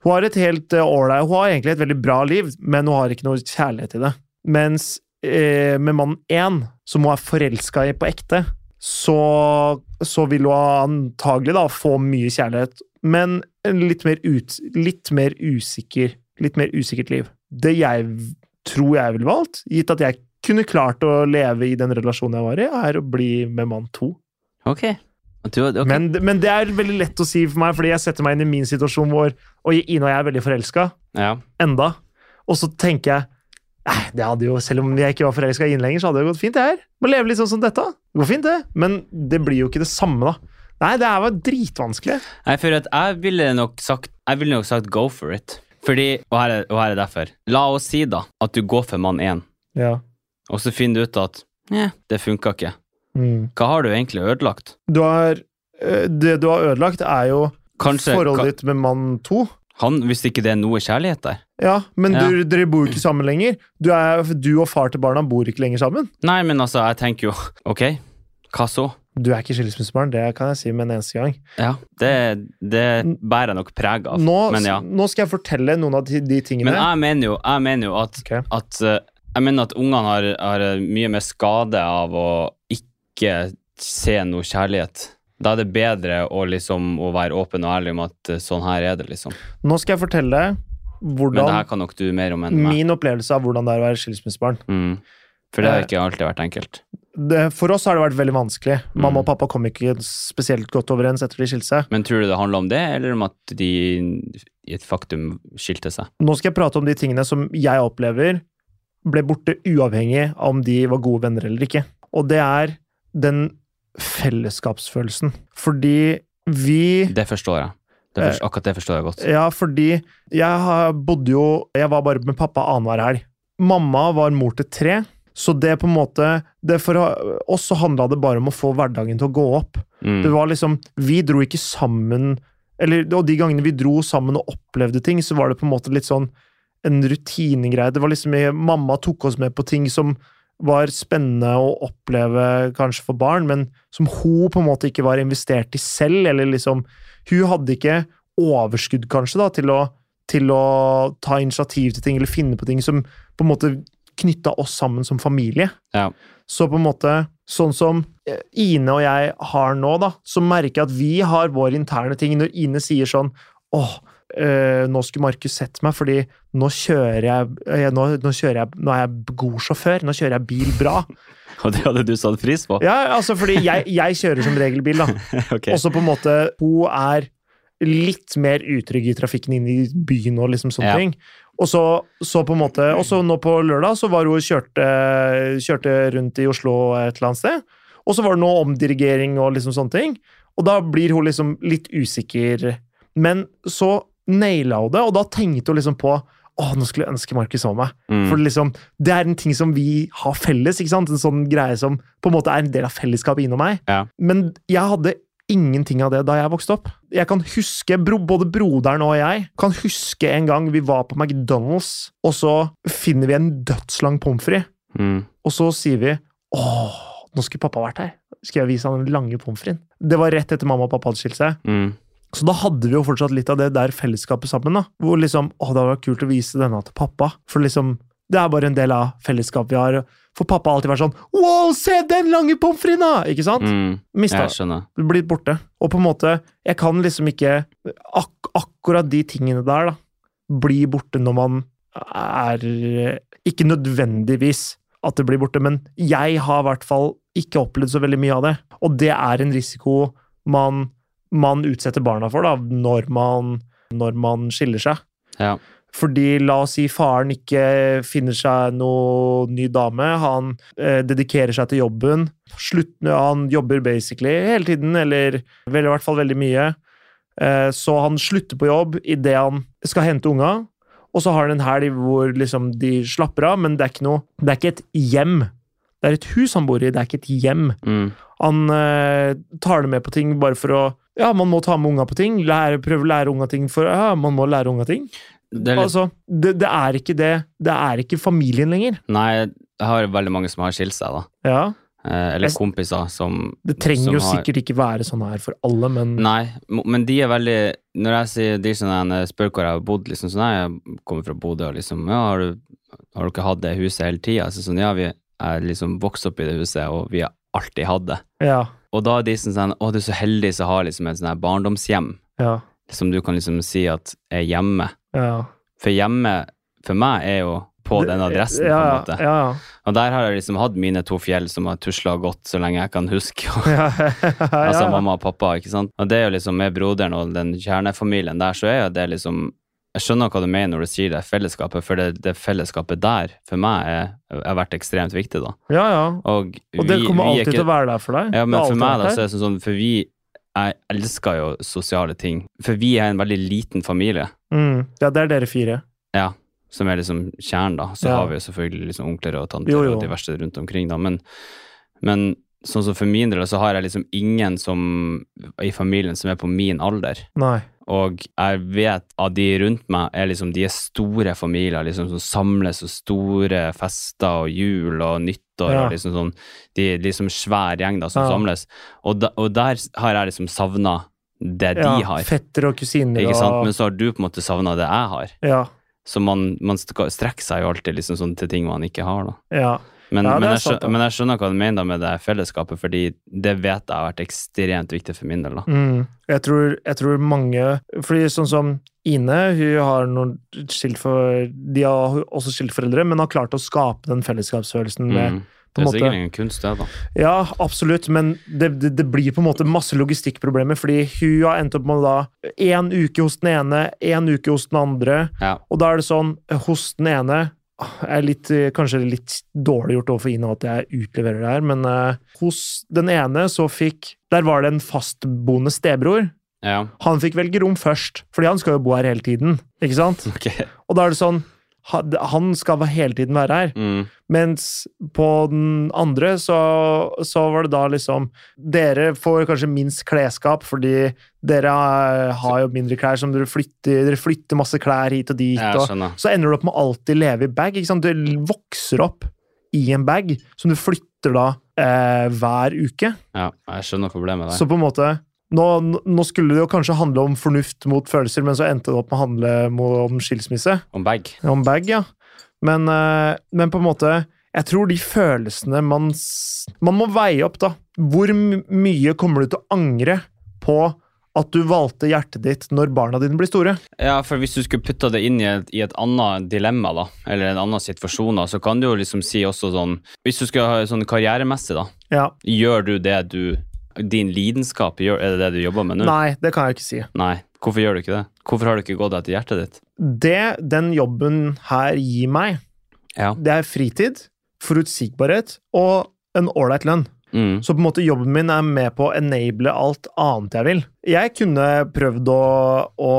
Speaker 1: Hun har et helt eh, ålreit Hun har egentlig et veldig bra liv, men hun har ikke noe kjærlighet til det. Mens eh, med mann én, som hun er forelska i på ekte, så, så vil hun antagelig da få mye kjærlighet, men en litt mer, ut, litt mer usikker Litt mer usikkert liv. Det jeg v- tror jeg ville valgt, gitt at jeg kunne klart å leve i den relasjonen jeg var i, er å bli med mann to.
Speaker 2: Ok. Og Du, ok.
Speaker 1: Men, men det er veldig lett å si for meg, fordi jeg setter meg inn i min situasjon hvor og Ine og jeg er veldig forelska
Speaker 2: ja.
Speaker 1: enda. Og så tenker jeg Nei, det hadde jo, Selv om jeg ikke var forelska i Ine lenger, så hadde det gått fint, det her. Må leve litt sånn som dette. Det går fint, det. Men det blir jo ikke det samme, da. Nei, det her var dritvanskelig.
Speaker 2: Nei, for at jeg ville nok sagt Jeg ville nok sagt go for it. Fordi, og her, er, og her er derfor La oss si da at du går for mann én,
Speaker 1: Ja.
Speaker 2: og så finner du ut at Nja, det funka ikke.
Speaker 1: Mm.
Speaker 2: Hva har du egentlig ødelagt?
Speaker 1: Du har, eh, det du har ødelagt, er jo
Speaker 2: Kanskje ka,
Speaker 1: forholdet ditt med mann to.
Speaker 2: han, hvis ikke det er noe kjærlighet der.
Speaker 1: Ja, men
Speaker 2: Ja.
Speaker 1: Du, dere bor jo ikke sammen lenger. Du, er, du og far til barna bor ikke lenger sammen.
Speaker 2: Nei, men altså, jeg tenker jo Ok, hva så?
Speaker 1: Du er ikke skilsmissebarn, det kan jeg si med en eneste gang.
Speaker 2: Ja, det, det bærer jeg nok preg av.
Speaker 1: Nå,
Speaker 2: Altså, men ja.
Speaker 1: nå skal jeg fortelle noen av de, de tingene.
Speaker 2: Men jeg mener jo, jeg mener jo at,
Speaker 1: Ok.
Speaker 2: at eh, Jeg mener at ungene har, har mye mer skade av å ikke se noe kjærlighet. Da er det bedre å, liksom, å være åpen og ærlig om at eh, sånn her er det, liksom.
Speaker 1: Nå skal jeg fortelle
Speaker 2: Men det her
Speaker 1: hvordan
Speaker 2: kan nok du mer om enn meg.
Speaker 1: min opplevelse av hvordan det er å være skilsmissebarn.
Speaker 2: Mm. For det har
Speaker 1: Eh,
Speaker 2: ikke alltid vært enkelt.
Speaker 1: Det, for oss har det vært veldig vanskelig.
Speaker 2: Mm.
Speaker 1: Mamma og pappa kom ikke spesielt godt overens etter de skilte seg.
Speaker 2: Men tror du det handler om det, eller om at de i et faktum skilte seg?
Speaker 1: Nå skal jeg prate om de tingene som jeg opplever ble borte uavhengig av om de var gode venner eller ikke. Og det er den fellesskapsfølelsen. Fordi vi
Speaker 2: Det forstår jeg. Det
Speaker 1: Eh,
Speaker 2: forst- akkurat det forstår jeg godt.
Speaker 1: Ja, fordi jeg har- bodde jo Jeg var bare med pappa annenhver helg. Mamma var mor til tre, så det på en måte det For oss så handla det bare om å få hverdagen til å gå opp. Det
Speaker 2: Mm.
Speaker 1: var liksom Vi dro ikke sammen eller, Og de gangene vi dro sammen og opplevde ting, så var det på en måte litt sånn en rutinegreie. Det var liksom Mamma tok oss med på ting som var spennende å oppleve kanskje for barn, men som hun på en måte ikke var investert i selv, eller liksom Hun hadde ikke overskudd, kanskje, da, til å, til å ta initiativ til ting, eller finne på ting som på en måte knytta oss sammen som familie.
Speaker 2: Ja.
Speaker 1: Så på en måte, sånn som eh, Ine og jeg har nå, da, så merker jeg at vi har våre interne ting. Når Ine sier sånn åh, eh, nå skulle Markus sett meg, fordi nå kjører jeg, eh, nå, nå kjører jeg Nå er jeg god sjåfør, nå kjører jeg bil bra.
Speaker 2: Og det hadde du satt pris på?
Speaker 1: Ja, altså fordi jeg, jeg kjører som regel bil, da.
Speaker 2: Ok.
Speaker 1: Og så på en måte, hun er litt mer utrygg i trafikken inne i byen og liksom sånne
Speaker 2: Ja.
Speaker 1: ting. Og så, så på en måte, og så nå på lørdag så var hun og kjørte, kjørte rundt i Oslo et eller annet sted. Og så var det noe omdirigering og liksom sånne ting. Og da blir hun liksom litt usikker. Men så naila hun det, og da tenkte hun liksom på å, nå skulle jeg ønske Markus så meg.
Speaker 2: Mm.
Speaker 1: For liksom, det er en ting som vi har felles. ikke sant? En sånn greie som på en måte er en del av fellesskapet innom meg.
Speaker 2: Ja.
Speaker 1: Men jeg hadde ingenting av det da jeg vokste opp. Jeg kan huske, bro, Både broderen og jeg kan huske en gang vi var på McDonald's, og så finner vi en dødslang pommes frites,
Speaker 2: Mm.
Speaker 1: og så sier vi åh, nå skulle pappa vært her. Skal jeg vise han den lange pommes fritesen? Det var rett etter mamma og pappa hadde skilt seg.
Speaker 2: Mm.
Speaker 1: Så da hadde vi jo fortsatt litt av det der fellesskapet sammen. da, Hvor liksom Å, det hadde vært kult å vise denne til pappa. For liksom Det er bare en del av fellesskapet vi har. For pappa har alltid vært sånn Wow, se den lange pommes fritesen, da! Ikke sant?
Speaker 2: Mm.
Speaker 1: Mista
Speaker 2: Jeg skjønner.
Speaker 1: Blitt borte. Og på en måte Jeg kan liksom ikke ak Akkurat de tingene der, da, blir borte når man er eh, Ikke nødvendigvis at det blir borte, men jeg har i hvert fall ikke opplevd så veldig mye av det. Og det er en risiko man, man utsetter barna for, da, når man, når man skiller seg.
Speaker 2: Ja.
Speaker 1: Fordi la oss si faren ikke finner seg noe ny dame, han eh, dedikerer seg til jobben, slutt- han jobber basically hele tiden, eller vel, i hvert fall veldig mye. Eh, så han slutter på jobb idet han skal hente unga, og så har han en helg hvor liksom, de slapper av, men det er ikke noe Det er ikke et hjem. Det er et hus han bor i, det er ikke et hjem.
Speaker 2: Mm.
Speaker 1: Han eh, tar det med på ting bare for å Ja, man må ta med unga på ting. Lære, prøve å lære unga ting, for ja, man må lære unga ting.
Speaker 2: Det er litt,
Speaker 1: Altså, det, det er ikke det. Det er ikke familien lenger.
Speaker 2: nei, jeg har veldig mange som har skilt seg, da.
Speaker 1: Ja.
Speaker 2: eh, eller
Speaker 1: Jeg-
Speaker 2: kompiser som
Speaker 1: Det trenger
Speaker 2: Som
Speaker 1: jo
Speaker 2: har-
Speaker 1: sikkert ikke være sånn her for alle, men
Speaker 2: Nei, m- men de er veldig Når jeg sier de som jeg spør hvor jeg har bodd, liksom sånn, «Nei, jeg kommer fra Bodø, og liksom Ja, har du, har du ikke hatt det huset hele tida? Så sånn, ja, vi er liksom vokst opp i det huset, og vi har alltid hatt det.
Speaker 1: ja.
Speaker 2: Og da er de sånn sånn Å, du er så heldig som har liksom et sånn her barndomshjem,
Speaker 1: Ja.
Speaker 2: som du kan liksom si at er hjemme.
Speaker 1: ja.
Speaker 2: For hjemme for meg er jo på den adressen,
Speaker 1: ja,
Speaker 2: på en måte.
Speaker 1: Ja, ja.
Speaker 2: Og der har jeg liksom hatt mine to fjell som har tusla og gått så lenge jeg kan huske. Og
Speaker 1: ja, ja, ja, ja.
Speaker 2: Altså mamma og pappa, ikke sant? Og det er jo liksom med broderen og den kjernefamilien der, så er jo det liksom Jeg skjønner hva du mener når du sier det fellesskapet, for det, det fellesskapet der, for meg, er, har vært ekstremt viktig, da.
Speaker 1: ja, ja.
Speaker 2: Og,
Speaker 1: Og det kommer alltid til å være der for deg.
Speaker 2: Ja,
Speaker 1: Det
Speaker 2: men
Speaker 1: har
Speaker 2: for
Speaker 1: alltid
Speaker 2: meg, da,
Speaker 1: vært
Speaker 2: så
Speaker 1: der.
Speaker 2: er det sånn sånn For vi Jeg elsker jo sosiale ting. For vi er en veldig liten familie,
Speaker 1: mm. Ja, det er dere fire.
Speaker 2: som er liksom kjernen, da. Så
Speaker 1: Ja.
Speaker 2: har vi jo selvfølgelig liksom onkler og tanter
Speaker 1: Jo, jo.
Speaker 2: og diverse rundt omkring, da. Men, men sånn som for min del, så har jeg liksom ingen som i familien som er på min alder.
Speaker 1: Nei.
Speaker 2: Og jeg vet at de rundt meg er liksom, de er store familier liksom, som samles og store fester og jul og nyttår
Speaker 1: Ja.
Speaker 2: og liksom sånn. De er liksom svær gjeng da som
Speaker 1: Ja.
Speaker 2: samles. Og, da, og der har jeg liksom savna det de
Speaker 1: Ja,
Speaker 2: har.
Speaker 1: Fettere og kusiner
Speaker 2: Ikke sant?
Speaker 1: og
Speaker 2: Men så har du på en måte savna det jeg har.
Speaker 1: Ja.
Speaker 2: Så man, man sk- strekker seg jo alltid liksom sånn til ting man ikke har. da.
Speaker 1: ja.
Speaker 2: Men,
Speaker 1: Ja, det
Speaker 2: men,
Speaker 1: er
Speaker 2: jeg,
Speaker 1: sant,
Speaker 2: skjønner,
Speaker 1: da.
Speaker 2: men jeg skjønner hva du mener da med det fellesskapet, fordi det vet jeg har vært ekstremt viktig for min del. da.
Speaker 1: Mm. Jeg, tror, jeg tror mange Fordi sånn som Ine, hun har noen skilt for De har også skilt foreldre, men har klart å skape den fellesskapsfølelsen med
Speaker 2: Mm. Det er
Speaker 1: måte-
Speaker 2: sikkert en kunst, det, da.
Speaker 1: Ja, absolutt, men det, det, det blir på en måte masse logistikkproblemer, fordi hun har endt opp med da én uke hos den ene, én uke hos den andre,
Speaker 2: Ja.
Speaker 1: og da er det sånn Hos den ene ah, jeg er litt, eh, kanskje litt dårlig gjort overfor Ine at jeg utleverer det her, men eh, hos den ene så fikk Der var det en fastboende stebror.
Speaker 2: Ja,
Speaker 1: Han fikk velge rom først, fordi han skal jo bo her hele tiden. ikke sant?
Speaker 2: ok.
Speaker 1: Og da er det sånn ha- Han skal hele tiden være her.
Speaker 2: Mm.
Speaker 1: Mens på den andre så, så var det da liksom Dere får kanskje minst klesskap, fordi dere har, har jo mindre klær som dere flytter Dere flytter masse klær hit og dit.
Speaker 2: Jeg
Speaker 1: Og,
Speaker 2: skjønner.
Speaker 1: så ender du opp med å alltid leve i bag. ikke sant? Du vokser opp i en bag som du flytter da eh, hver uke.
Speaker 2: Ja, jeg skjønner problemet der.
Speaker 1: Så på en måte nå, nå skulle det jo kanskje handle om fornuft mot følelser, men så endte det opp med å handle mo- om skilsmisse.
Speaker 2: Om bag.
Speaker 1: Om bag, ja. Men, eh, men på en måte Jeg tror de følelsene man s- Man må veie opp, da. Hvor m- mye kommer du til å angre på at du valgte hjertet ditt når barna dine blir store?
Speaker 2: Ja, for hvis du skulle putta det inn i et, i et annet dilemma, da, eller en annen situasjon, da, så kan du jo liksom si også sånn Hvis du skulle ha sånn karrieremessig, da,
Speaker 1: Ja.
Speaker 2: gjør du det du Din lidenskap, gjør, er det det du jobber med nå?
Speaker 1: Nei, det kan jeg ikke si.
Speaker 2: Nei. Hvorfor gjør du ikke det? Hvorfor har du ikke gått etter hjertet ditt?
Speaker 1: Det den jobben her gir meg,
Speaker 2: Ja.
Speaker 1: det er fritid, forutsigbarhet og en ålreit lønn.
Speaker 2: Mm.
Speaker 1: Så på en måte jobben min er med på å enable alt annet jeg vil. Jeg kunne prøvd å, å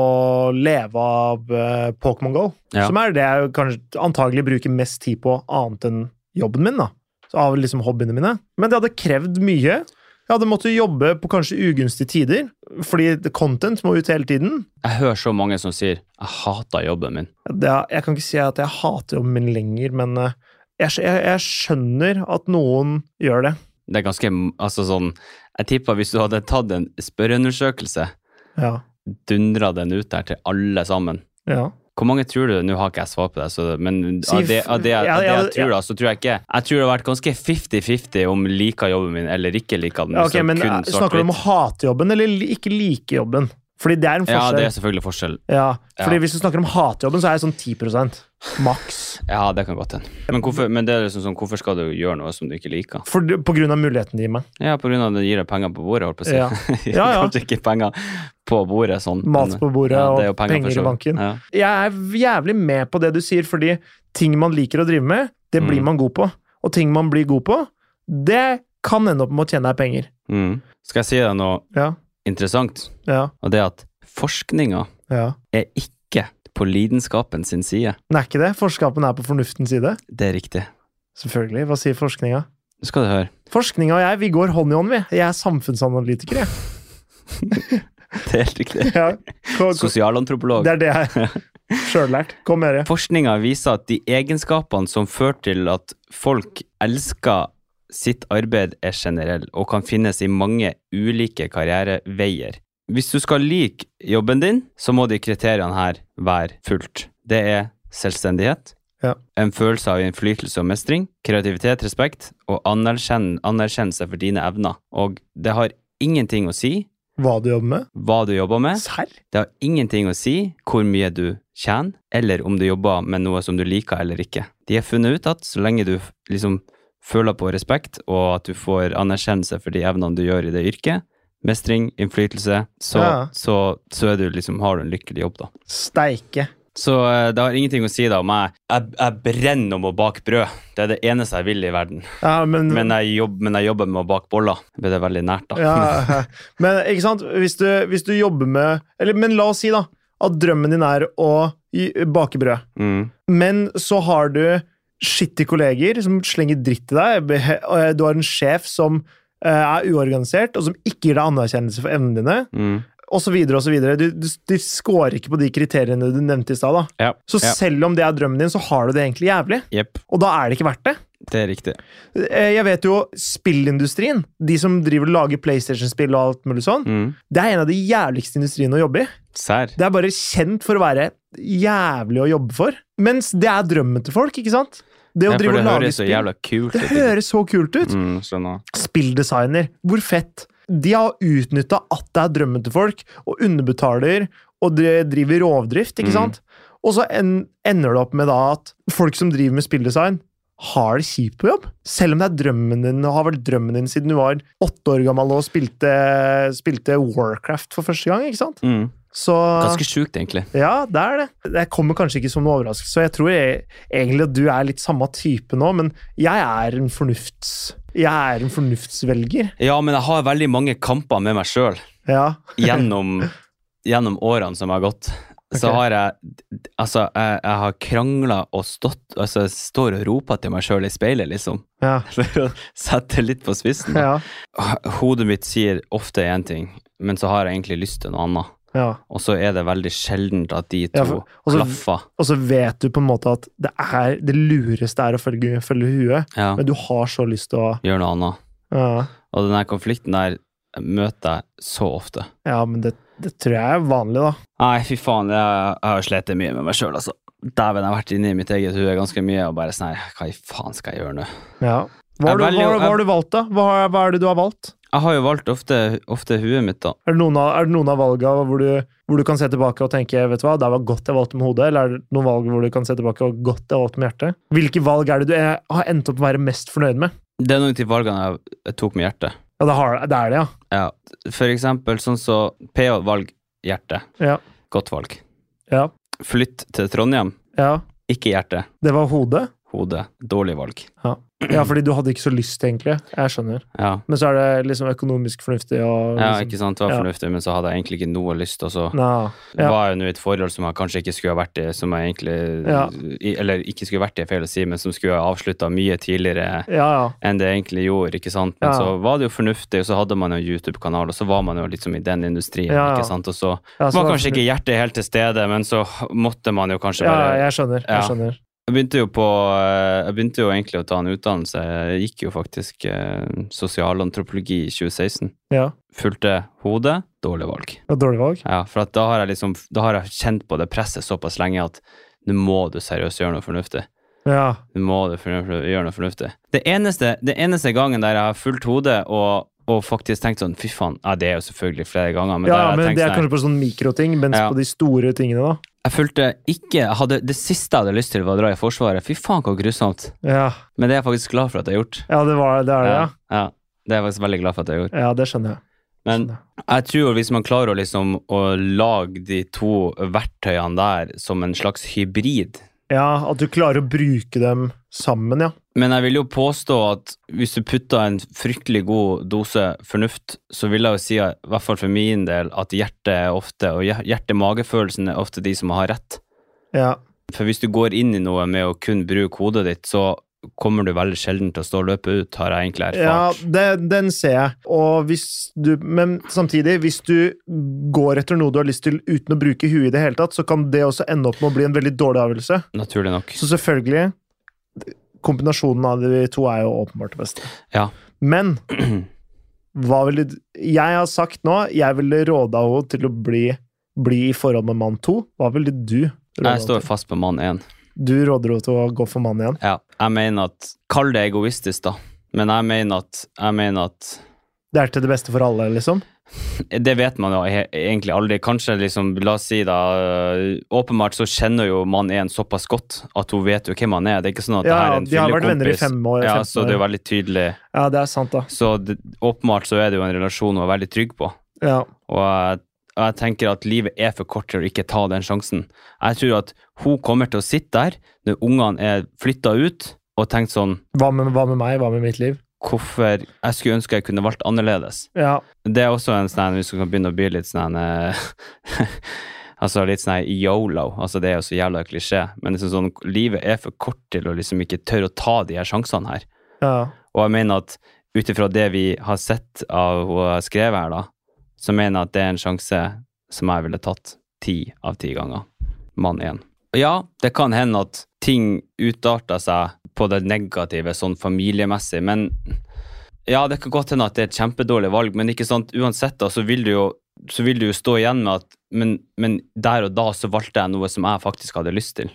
Speaker 1: leve av eh, Pokémon GO,
Speaker 2: Ja.
Speaker 1: som er det jeg kanskje antagelig bruker mest tid på annet enn jobben min, da. Så av liksom hobbyene mine. Men det hadde krevd mye. Jeg hadde måttet jobbe på kanskje ugunstige tider, fordi det- content må ut hele tiden.
Speaker 2: Jeg hører så mange som sier 'jeg hater jobben min'.
Speaker 1: Det, er- jeg kan ikke si at jeg hater jobben min lenger, men eh, jeg, skj- jeg, jeg skjønner at noen gjør det.
Speaker 2: Det er ganske Altså sånn Jeg tipper hvis du hadde tatt en spørreundersøkelse,
Speaker 1: Ja.
Speaker 2: dundra den ut der til alle sammen
Speaker 1: ja.
Speaker 2: Hvor mange tror du Nå har ikke jeg svar på det, så, men
Speaker 1: Si
Speaker 2: av det, av det, jeg- av det
Speaker 1: ja, ja,
Speaker 2: jeg tror, da, så tror jeg ikke Jeg tror det har vært ganske 50-50 om liker jobben min eller ikke liker den.
Speaker 1: Ja,
Speaker 2: hvis
Speaker 1: ok,
Speaker 2: det
Speaker 1: men
Speaker 2: kun
Speaker 1: eh, Snakker du om å
Speaker 2: svart-hvitt.
Speaker 1: hate jobben eller li- ikke like jobben? Fordi det er
Speaker 2: Ja,
Speaker 1: en
Speaker 2: det er
Speaker 1: forskjell.
Speaker 2: selvfølgelig forskjell.
Speaker 1: Ja, fordi
Speaker 2: Ja.
Speaker 1: Hvis du snakker om hatejobben, så er jeg sånn 10 maks.
Speaker 2: Ja, det kan godt hende. Men, hvorfor- men det er liksom sånn, hvorfor skal du gjøre noe som du ikke liker?
Speaker 1: For, på grunn av muligheten de gir meg.
Speaker 2: Ja, på grunn av det gir deg penger på bordet, holdt på å si.
Speaker 1: Ja. Ja, ja.
Speaker 2: Kanskje ikke penger på bordet sånn.
Speaker 1: Mat
Speaker 2: men-
Speaker 1: på bordet
Speaker 2: Ja, det er jo
Speaker 1: og
Speaker 2: for
Speaker 1: penger
Speaker 2: så
Speaker 1: i
Speaker 2: vidt.
Speaker 1: banken.
Speaker 2: Ja.
Speaker 1: Jeg er jævlig med på det du sier, fordi ting man liker å drive med, det blir
Speaker 2: Mm.
Speaker 1: man god på. Og ting man blir god på, det kan ende opp med å tjene deg penger.
Speaker 2: Mm. Skal jeg si deg noe
Speaker 1: Ja,
Speaker 2: interessant?
Speaker 1: ja,
Speaker 2: Og det er at forskninga
Speaker 1: ja.
Speaker 2: er ikke på lidenskapen sin side.
Speaker 1: Men er ikke det? Forskningen er på fornuftens side.
Speaker 2: Det er riktig.
Speaker 1: Selvfølgelig. Hva sier forskninga?
Speaker 2: Nå skal du høre.
Speaker 1: Forskninga og jeg, vi går hånd i hånd, vi. Jeg er samfunnsanalytiker, jeg.
Speaker 2: Det er helt riktig.
Speaker 1: Ja. Hva- hva-
Speaker 2: Sosialantropolog.
Speaker 1: Det er det jeg sjøl lært. Kom med det.
Speaker 2: Forskninga viser at de egenskapene som fører til at folk elsker sitt arbeid er generell og kan finnes i mange ulike karriereveier. Hvis du skal like jobben din, så må de kriteriene her være fulgt. Det er selvstendighet,
Speaker 1: Ja.
Speaker 2: en følelse av innflytelse og mestring, kreativitet, respekt og anerkjenn, anerkjennelse for dine evner. Og det har ingenting å si
Speaker 1: Hva du jobber med?
Speaker 2: hva du jobber med.
Speaker 1: Serr?
Speaker 2: Det har ingenting å si hvor mye du tjener, eller om du jobber med noe som du liker eller ikke. De har funnet ut at så lenge du f- liksom føler på respekt, og at du får anerkjennelse for de evnene du gjør i det yrket, mestring, innflytelse, så,
Speaker 1: Ja.
Speaker 2: så, så er du liksom, har du en lykkelig jobb, da.
Speaker 1: Steike.
Speaker 2: Så eh, det har ingenting å si da om jeg, jeg, jeg brenner om å bake brød. Det er det eneste jeg vil i verden.
Speaker 1: Ja, men,
Speaker 2: Men jeg, jobb, men jeg jobber med å bake boller. Det ble det veldig nært, da.
Speaker 1: ja, men ikke sant, hvis du, hvis du jobber med eller, Men la oss si da at drømmen din er å gi- bake brød.
Speaker 2: Mm.
Speaker 1: Men så har du skittige kolleger som slenger dritt til deg. Beh- og Du har en sjef som eh, er uorganisert, og som ikke gir deg anerkjennelse for evnene dine,
Speaker 2: Mm.
Speaker 1: osv. osv. Du, du, du scorer ikke på de kriteriene du nevnte i stad. da.
Speaker 2: Ja.
Speaker 1: Så
Speaker 2: ja.
Speaker 1: selv om det er drømmen din, så har du det egentlig jævlig.
Speaker 2: Jepp,
Speaker 1: Og da er det ikke verdt det.
Speaker 2: det er riktig.
Speaker 1: Eh, Jeg vet jo spillindustrien, de som driver og lager PlayStation-spill og alt mulig sånn,
Speaker 2: Mm.
Speaker 1: det er en av de jævligste industriene å jobbe i.
Speaker 2: Sær.
Speaker 1: Det er bare kjent for å være jævlig å jobbe for. Mens det er drømmen til folk, ikke sant? Det å
Speaker 2: Nei,
Speaker 1: drive
Speaker 2: for
Speaker 1: og
Speaker 2: det
Speaker 1: lage
Speaker 2: høres så
Speaker 1: spill.
Speaker 2: jævla kult
Speaker 1: Det
Speaker 2: ut. ikke
Speaker 1: høres så kult ut.
Speaker 2: sant? Mm, skjønner.
Speaker 1: Spilldesigner, hvor fett. De har utnytta at det er drømmen til folk, og underbetaler og dri- driver rovdrift, ikke
Speaker 2: Mm.
Speaker 1: sant? Og så en, ender det opp med da at folk som driver med spilldesign, har det kjipt på jobb. Selv om det er drømmen din, og har vært drømmen din siden du var åtte år gammel og spilte, spilte Warcraft for første gang, ikke sant?
Speaker 2: Mm.
Speaker 1: Så
Speaker 2: Ganske sjukt, egentlig.
Speaker 1: ja, det er det. Det kommer kanskje ikke som noe overraskelse. Så jeg tror jeg, egentlig at du er litt samme type nå, men jeg er en fornufts... Jeg er en fornuftsvelger.
Speaker 2: Ja, men jeg har veldig mange kamper med meg sjøl
Speaker 1: Ja.
Speaker 2: gjennom, gjennom årene som har gått. Så
Speaker 1: Ok.
Speaker 2: har jeg Altså, jeg, jeg har krangla og stått Altså, jeg står og roper til meg sjøl i speilet, liksom.
Speaker 1: Ja.
Speaker 2: For å sette det litt på spissen.
Speaker 1: Ja.
Speaker 2: Hodet mitt sier ofte én ting, men så har jeg egentlig lyst til noe annet.
Speaker 1: ja.
Speaker 2: Og så er det veldig sjeldent at de to
Speaker 1: Ja, for- og så-
Speaker 2: klaffer.
Speaker 1: Og så vet du på en måte at det, er, det lureste er å følge, følge huet,
Speaker 2: Ja,
Speaker 1: men du har så lyst til å
Speaker 2: gjør noe annet.
Speaker 1: Ja,
Speaker 2: Og den her konflikten der møter jeg så ofte.
Speaker 1: ja men det, det tror jeg er vanlig, da.
Speaker 2: Nei, fy faen, jeg, jeg har slitt mye med meg sjøl, altså. Dæven, jeg har vært inne i mitt eget hue ganske mye og bare sånn her, hva i faen skal jeg gjøre nå?
Speaker 1: Ja. Hva har du,
Speaker 2: Jeg velger
Speaker 1: hva,
Speaker 2: jo-
Speaker 1: hva har du valgt, da? Hva, hva er det du har valgt?
Speaker 2: Jeg har jo valgt ofte, ofte huet mitt, da.
Speaker 1: Er det noen av, er det noen av valgene hvor du, hvor du kan se tilbake og tenke vet du hva, det var godt jeg valgte med hodet, eller er det noen valg hvor du kan se tilbake og godt jeg valgte med hjertet? Hvilke valg er det du er, har endt opp å være mest fornøyd med?
Speaker 2: Det er noen av de valgene jeg, jeg tok med hjertet.
Speaker 1: Ja, det, har, det er det, ja.
Speaker 2: Ja, for eksempel sånn så PH-valg hjerte.
Speaker 1: Ja.
Speaker 2: Godt valg.
Speaker 1: Ja,
Speaker 2: Flytt til Trondheim.
Speaker 1: ja.
Speaker 2: Ikke hjerte.
Speaker 1: Det var hodet.
Speaker 2: Hode. Dårlig valg.
Speaker 1: Ja, fordi du hadde ikke så lyst, egentlig. Jeg skjønner.
Speaker 2: Ja.
Speaker 1: Men så er det liksom økonomisk fornuftig og
Speaker 2: ja,
Speaker 1: liksom,
Speaker 2: ikke sant. Det var
Speaker 1: Ja.
Speaker 2: fornuftig, men så hadde jeg egentlig ikke noe lyst, og så
Speaker 1: Nei. Ja.
Speaker 2: var jeg nå i et forhold som jeg kanskje ikke skulle ha vært i, som jeg egentlig
Speaker 1: Ja.
Speaker 2: i, Eller ikke skulle vært i, er feil å si, men som skulle ha avslutta mye tidligere
Speaker 1: Ja, ja.
Speaker 2: enn det egentlig gjorde, ikke sant. Men
Speaker 1: Ja.
Speaker 2: så var det jo fornuftig, og så hadde man jo en YouTube-kanal, og så var man jo liksom i den industrien,
Speaker 1: Ja, ja.
Speaker 2: ikke sant. Og så
Speaker 1: ja så
Speaker 2: var
Speaker 1: det
Speaker 2: kanskje ikke hjertet helt til stede, men så måtte man jo kanskje
Speaker 1: ja,
Speaker 2: bare
Speaker 1: jeg skjønner. Jeg
Speaker 2: Ja.
Speaker 1: skjønner.
Speaker 2: Jeg begynte jo på eh, Jeg begynte jo egentlig å ta en utdannelse. Jeg gikk jo faktisk eh, sosialantropologi i 2016.
Speaker 1: Ja.
Speaker 2: Fulgte hodet. Dårlig valg.
Speaker 1: Det var dårlig valg.
Speaker 2: Ja, for at da har jeg liksom Da har jeg kjent på det presset såpass lenge at nå må du seriøst gjøre noe fornuftig.
Speaker 1: Ja.
Speaker 2: Nå må du fornu- gjøre noe fornuftig. Det eneste, det eneste gangen der jeg har fulgt hodet og, og faktisk tenkt sånn Fy faen. Ja, det er jo selvfølgelig flere ganger, men,
Speaker 1: ja,
Speaker 2: der har jeg
Speaker 1: men det er
Speaker 2: tenkt sånn
Speaker 1: kanskje på sånne mikroting, mens
Speaker 2: Ja.
Speaker 1: på de store tingene, da.
Speaker 2: Jeg fulgte ikke jeg hadde, Det siste jeg hadde lyst til, var å dra i Forsvaret. Fy faen, så grusomt.
Speaker 1: Ja,
Speaker 2: Men det er jeg faktisk glad for at jeg har gjort.
Speaker 1: ja det, var, det er det, ja.
Speaker 2: ja. Det er jeg faktisk veldig glad for at jeg gjorde.
Speaker 1: Ja, det skjønner jeg.
Speaker 2: Men
Speaker 1: Skjønner.
Speaker 2: jeg tror hvis man klarer å liksom å lage de to verktøyene der som en slags hybrid
Speaker 1: Ja, At du klarer å bruke dem sammen, ja.
Speaker 2: Men jeg vil jo påstå at hvis du putter en fryktelig god dose fornuft, så vil jeg jo si, at, i hvert fall for min del, at hjertet er ofte, og hjer- hjerte-magefølelsen er ofte de som har rett.
Speaker 1: ja.
Speaker 2: For hvis du går inn i noe med å kun bruke hodet ditt, så kommer du veldig sjelden til å stå og løpe ut, har jeg egentlig
Speaker 1: Ja,
Speaker 2: erfart.
Speaker 1: det, den ser jeg. Og hvis du, men samtidig, hvis du går etter noe du har lyst til uten å bruke huet i det hele tatt, så kan det også ende opp med å bli en veldig dårlig avgjørelse.
Speaker 2: Naturlig nok.
Speaker 1: Så selvfølgelig kombinasjonen av de to er jo åpenbart det beste.
Speaker 2: Ja.
Speaker 1: Men hva ville du- Jeg har sagt nå jeg ville råda henne til å bli, bli i forhold med mann to. Hva ville du råda
Speaker 2: Jeg
Speaker 1: henne
Speaker 2: står
Speaker 1: til?
Speaker 2: fast på mann én.
Speaker 1: Du råder henne til å gå for mann igjen.
Speaker 2: Ja. Jeg mener at Kall det egoistisk, da. Men jeg mener at, jeg mener at
Speaker 1: Det er til det beste for alle, liksom.
Speaker 2: Det vet man jo he- egentlig aldri. Kanskje, liksom, la oss si da øh, Åpenbart så kjenner jo man en såpass godt at hun vet jo hvem han er. Det er ikke sånn at det her
Speaker 1: Ja,
Speaker 2: er en
Speaker 1: de har vært venner i
Speaker 2: fyllekompis.
Speaker 1: fem år.
Speaker 2: Ja,
Speaker 1: 15
Speaker 2: så det er jo
Speaker 1: år.
Speaker 2: veldig tydelig.
Speaker 1: ja, det er sant, da.
Speaker 2: Så det, åpenbart så er det jo en relasjon hun er veldig trygg på.
Speaker 1: Ja.
Speaker 2: Og jeg, og jeg tenker at livet er for kort til å ikke ta den sjansen. Jeg tror at hun kommer til å sitte der når ungene er flytta ut, og tenkt sånn
Speaker 1: Hva, med, hva med meg? Hva med mitt liv?
Speaker 2: Hvorfor Jeg skulle ønske jeg kunne valgt annerledes.
Speaker 1: Ja,
Speaker 2: Det er også en sånn Hvis du kan begynne å bli litt sånn eh, Altså litt sånn yolo. Altså det er jo så jævla klisjé. Men liksom sånn, livet er for kort til å liksom ikke tørre å ta de her sjansene her.
Speaker 1: ja.
Speaker 2: Og jeg mener at ut ifra det vi har sett av hun har skrevet her, da, så mener jeg at det er en sjanse som jeg ville tatt ti av ti ganger. Mann én. Og Ja, det kan hende at ting utarter seg på det negative, sånn familiemessig, men ja, det kan godt hende at det er et kjempedårlig valg, men ikke sant, uansett da, så vil du jo, så vil du jo stå igjen med at men, men der og da så valgte jeg noe som jeg faktisk hadde lyst til.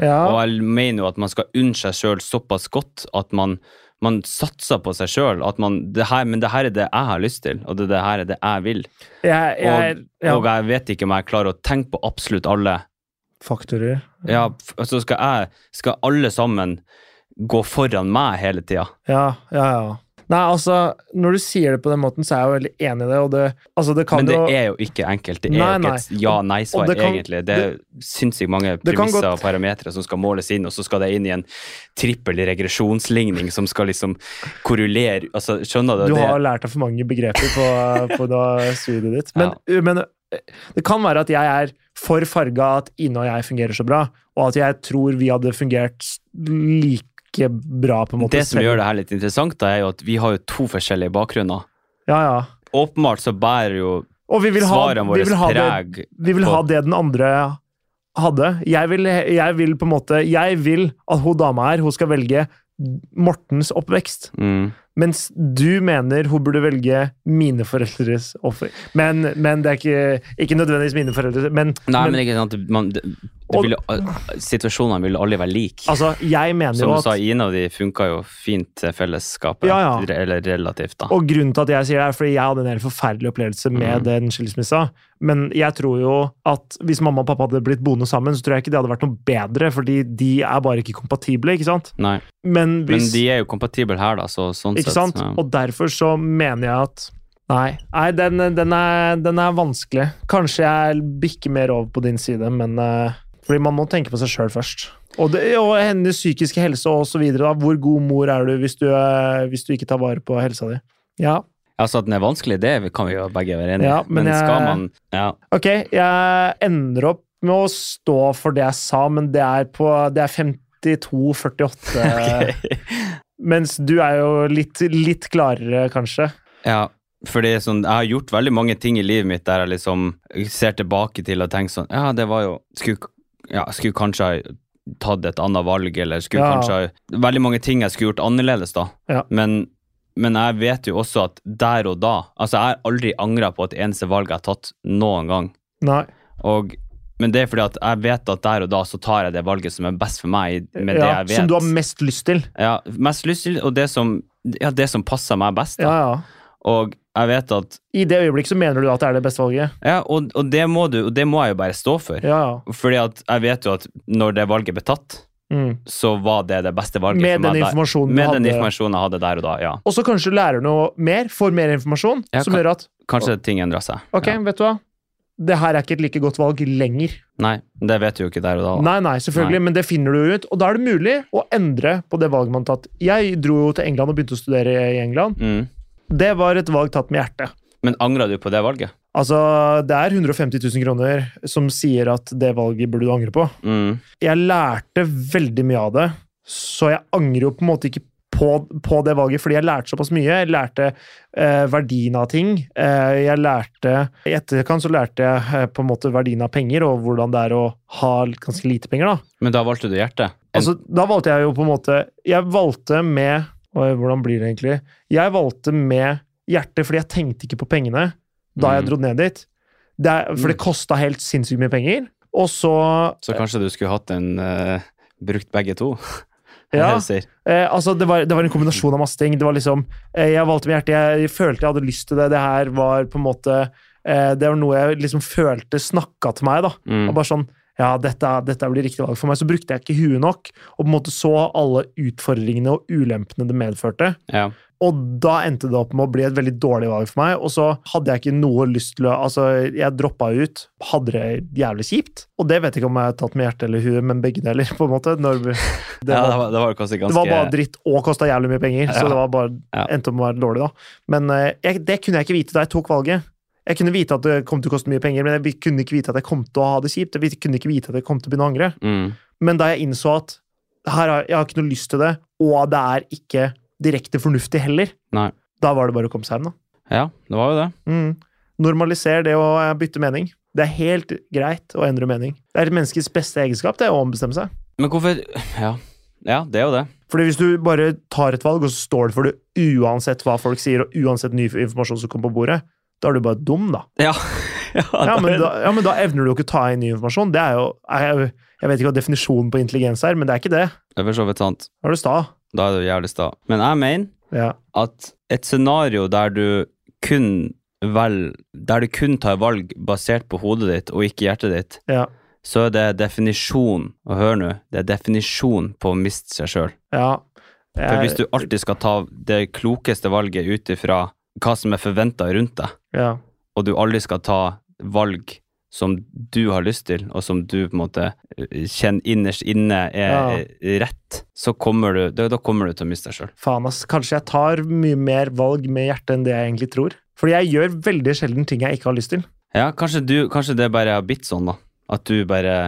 Speaker 2: Og
Speaker 1: ja.
Speaker 2: jeg mener jo at man skal unne seg sjøl såpass godt at man, man satser på seg sjøl. At man det her, Men det her er det jeg har lyst til, og det, det her er det jeg vil.
Speaker 1: Jeg, jeg,
Speaker 2: Og,
Speaker 1: ja.
Speaker 2: og jeg vet ikke om jeg klarer å tenke på absolutt alle.
Speaker 1: Faktorer.
Speaker 2: Ja, f- altså skal, jeg, skal alle sammen gå foran meg hele tida?
Speaker 1: Ja, ja, ja. Nei, altså, når du sier det på den måten, så er jeg jo veldig enig i det, og det, altså, det kan
Speaker 2: Men det
Speaker 1: jo
Speaker 2: er jo ikke enkelt. Det er jo
Speaker 1: Nei,
Speaker 2: ikke et
Speaker 1: nei. Og
Speaker 2: ja-nei-svar,
Speaker 1: det kan-
Speaker 2: egentlig. Det er sinnssykt mange
Speaker 1: Det kan
Speaker 2: premisser
Speaker 1: godt-
Speaker 2: og parametere som skal måles inn, og så skal det inn i en trippel regresjonsligning som skal liksom korrulere altså, Skjønner du?
Speaker 1: Du
Speaker 2: Det-
Speaker 1: har lært deg for mange begreper på, på da studiet ditt. Men, men eh, det kan være at jeg er for farga at Ine og jeg fungerer så bra, og at jeg tror vi hadde fungert like bra, på en måte.
Speaker 2: Det som gjør det her litt interessant, da, er jo at vi har jo to forskjellige bakgrunner.
Speaker 1: Ja, ja.
Speaker 2: Åpenbart så bærer jo
Speaker 1: Og vi vil ha,
Speaker 2: svarene
Speaker 1: vi
Speaker 2: våre
Speaker 1: vil ha det
Speaker 2: preg
Speaker 1: Vi vil
Speaker 2: på-
Speaker 1: ha det den andre hadde. Jeg vil, jeg vil på en måte Jeg vil at hun dama her hun skal velge Mortens oppvekst,
Speaker 2: mm.
Speaker 1: mens du mener hun burde velge mine foreldres oppvekst. Men, men det er ikke, ikke nødvendigvis mine foreldre men,
Speaker 2: Nei, men,
Speaker 1: men
Speaker 2: ikke sant man, det, det
Speaker 1: Og-
Speaker 2: vil, jo- Situasjonene vil jo aldri være like.
Speaker 1: altså, jeg mener
Speaker 2: Som
Speaker 1: jo
Speaker 2: du sa,
Speaker 1: at
Speaker 2: Ina og de funka jo fint til fellesskapet.
Speaker 1: Ja, ja.
Speaker 2: re- Eller relativt, da.
Speaker 1: Og grunnen til at jeg sier det, er fordi jeg hadde en helt forferdelig opplevelse med
Speaker 2: Mm.
Speaker 1: den skilsmissa. Men jeg tror jo at hvis mamma og pappa hadde blitt boende sammen, så tror jeg ikke det hadde vært noe bedre, fordi de er bare ikke kompatible, ikke sant?
Speaker 2: Nei.
Speaker 1: Men hvis
Speaker 2: Men de er jo kompatible her, da, så sånn
Speaker 1: Ikke
Speaker 2: sett
Speaker 1: sant?
Speaker 2: ja.
Speaker 1: Og derfor så mener jeg at Nei, nei den, den, er, den er vanskelig. Kanskje jeg bikker mer over på din side, men eh, Fordi man må tenke på seg sjøl først. Og, det, og hennes psykiske helse og så videre. Da. Hvor god mor er du hvis du, eh, hvis du ikke tar vare på helsa di? Ja,
Speaker 2: Altså at den er vanskelig, det kan vi jo begge være enige i.
Speaker 1: Ja, men
Speaker 2: men, skal
Speaker 1: jeg-
Speaker 2: man ja.
Speaker 1: ok, jeg ender opp med å stå for det jeg sa, men det er på Det er 52-48. Eh, Mens du er jo litt, litt klarere, kanskje.
Speaker 2: Ja, for det er sånn, jeg har gjort veldig mange ting i livet mitt der jeg liksom ser tilbake til og tenker sånn, ja, det var jo, skulle, ja, skulle kanskje ha tatt et annet valg, eller skulle
Speaker 1: Ja.
Speaker 2: kanskje ha, veldig mange ting jeg skulle gjort annerledes da.
Speaker 1: Ja.
Speaker 2: Men, men jeg vet jo også at der og da, altså jeg har aldri angret på et eneste valg jeg har tatt noen gang.
Speaker 1: Nei.
Speaker 2: Og, men det er fordi at jeg vet at der og da så tar jeg det valget som er best for meg i- med det
Speaker 1: Ja,
Speaker 2: jeg vet.
Speaker 1: som du har mest lyst til.
Speaker 2: ja, mest lyst til, og det som, ja, det som passer meg best.
Speaker 1: Ja,
Speaker 2: Da.
Speaker 1: ja.
Speaker 2: Og jeg vet at
Speaker 1: I det øyeblikket så mener du at det er det beste valget.
Speaker 2: Ja, og, og det må du, og det må jeg jo bare stå for.
Speaker 1: Ja, ja.
Speaker 2: Fordi at jeg vet jo at når det valget ble tatt,
Speaker 1: Mm.
Speaker 2: så var det det beste valget
Speaker 1: Med
Speaker 2: for
Speaker 1: den
Speaker 2: meg. der.
Speaker 1: informasjonen
Speaker 2: Med den
Speaker 1: du hadde.
Speaker 2: informasjonen jeg hadde der og da, ja.
Speaker 1: Og så kanskje du lærer noe mer, får mer informasjon,
Speaker 2: Ja,
Speaker 1: som
Speaker 2: kan-
Speaker 1: gjør at
Speaker 2: Kanskje ting endra seg.
Speaker 1: Ok,
Speaker 2: Ja.
Speaker 1: vet du hva? Det her er ikke et like godt valg lenger.
Speaker 2: Nei, det vet du jo ikke der og da.
Speaker 1: Nei, nei, selvfølgelig, men det finner du jo ut. Og da er det mulig å endre på det valget man har tatt. Jeg dro jo til England og begynte å studere i England.
Speaker 2: Mm.
Speaker 1: Det var et valg tatt med hjertet.
Speaker 2: Men angra du på det valget?
Speaker 1: Altså, det er 150 000 kroner som sier at det valget burde du angre på.
Speaker 2: Mm.
Speaker 1: jeg lærte veldig mye av det, så jeg angrer jo på en måte ikke på, på det valget, fordi jeg lærte såpass mye. Jeg lærte eh, verdien av ting. Eh, jeg lærte I etterkant så lærte jeg eh, på en måte verdien av penger, og hvordan det er å ha ganske lite penger, da.
Speaker 2: Men da valgte du hjertet? En-
Speaker 1: Altså, da valgte jeg jo på en måte Jeg valgte med Oi, Hvordan blir det egentlig? Jeg valgte med hjertet, fordi jeg tenkte ikke på pengene da jeg
Speaker 2: Mm.
Speaker 1: dro ned dit. Det er, for det kosta helt sinnssykt mye penger. Og så
Speaker 2: så kanskje du skulle hatt en eh, brukt begge to?
Speaker 1: Ja.
Speaker 2: Jeg sier.
Speaker 1: eh, Altså, det var, det var en kombinasjon av masse ting. Det var liksom eh, Jeg valgte med hjertet. Jeg følte jeg hadde lyst til det. Det her var på en måte eh, Det var noe jeg liksom følte snakka til meg, da.
Speaker 2: Mm.
Speaker 1: Og bare sånn Ja, dette, dette blir riktig valg for meg. Så brukte jeg ikke huet nok, og på en måte så alle utfordringene og ulempene det medførte.
Speaker 2: Ja.
Speaker 1: Og da endte det opp med å bli et veldig dårlig valg for meg. Og så hadde jeg ikke noe lyst til å Altså, jeg droppa ut. Hadde det jævlig kjipt. Og det vet jeg ikke om jeg har tatt med hjertet eller huet, men begge deler, på en måte. Når vi, det,
Speaker 2: ja, det
Speaker 1: var,
Speaker 2: var, det var kanskje
Speaker 1: det
Speaker 2: ganske
Speaker 1: var bare dritt og kosta jævlig mye penger, så
Speaker 2: Ja.
Speaker 1: det var bare,
Speaker 2: Ja.
Speaker 1: endte opp med å være dårlig, da. Men eh, jeg, det kunne jeg ikke vite da jeg tok valget. Jeg kunne vite at det kom til å koste mye penger, men jeg kunne ikke vite at jeg kom til å ha det kjipt. Jeg kunne ikke vite at jeg kom til å begynne å angre.
Speaker 2: mm.
Speaker 1: Men da jeg innså at her har, jeg har ikke noe lyst til det, og det er ikke direkte fornuftig heller,
Speaker 2: Nei.
Speaker 1: da var det bare å komme seg hjem, da.
Speaker 2: Ja, det var jo det.
Speaker 1: Mm. Normaliser det å eh, bytte mening. Det er helt greit å endre mening. Det er et menneskes beste egenskap, det er å ombestemme seg.
Speaker 2: Men hvorfor Ja, ja det er jo det.
Speaker 1: Fordi hvis du bare tar et valg, og så står det for det uansett hva folk sier, og uansett ny informasjon som kommer på bordet, da er du bare dum, da.
Speaker 2: Ja, ja,
Speaker 1: Ja,
Speaker 2: det-
Speaker 1: men da, ja, men da evner du jo ikke å ta inn ny informasjon. Det er jo Jeg, jeg vet ikke hva definisjonen på intelligens er, men det er ikke det.
Speaker 2: Det er for så vidt sant.
Speaker 1: Da er du sta.
Speaker 2: Da er det jo jævlig sta. Men jeg mener
Speaker 1: Ja.
Speaker 2: at et scenario der du kun vel, der du kun tar valg basert på hodet ditt og ikke hjertet ditt,
Speaker 1: Ja.
Speaker 2: så er det definisjon, og hør nå, det er definisjon på å miste seg sjøl.
Speaker 1: ja.
Speaker 2: For hvis
Speaker 1: Jeg,
Speaker 2: du alltid skal ta det klokeste valget ut ifra hva som er forventa rundt deg,
Speaker 1: ja.
Speaker 2: og du aldri skal ta valg som du har lyst til, og som du på en måte eh, kjenner innerst inne er
Speaker 1: Ja.
Speaker 2: eh, rett, så kommer du, da, da kommer du til å miste deg sjøl.
Speaker 1: Faen, ass. Kanskje jeg tar mye mer valg med hjertet enn det jeg egentlig tror. Fordi jeg gjør veldig sjelden ting jeg ikke har lyst til.
Speaker 2: Ja, kanskje, du, kanskje det bare har blitt sånn, da. At du bare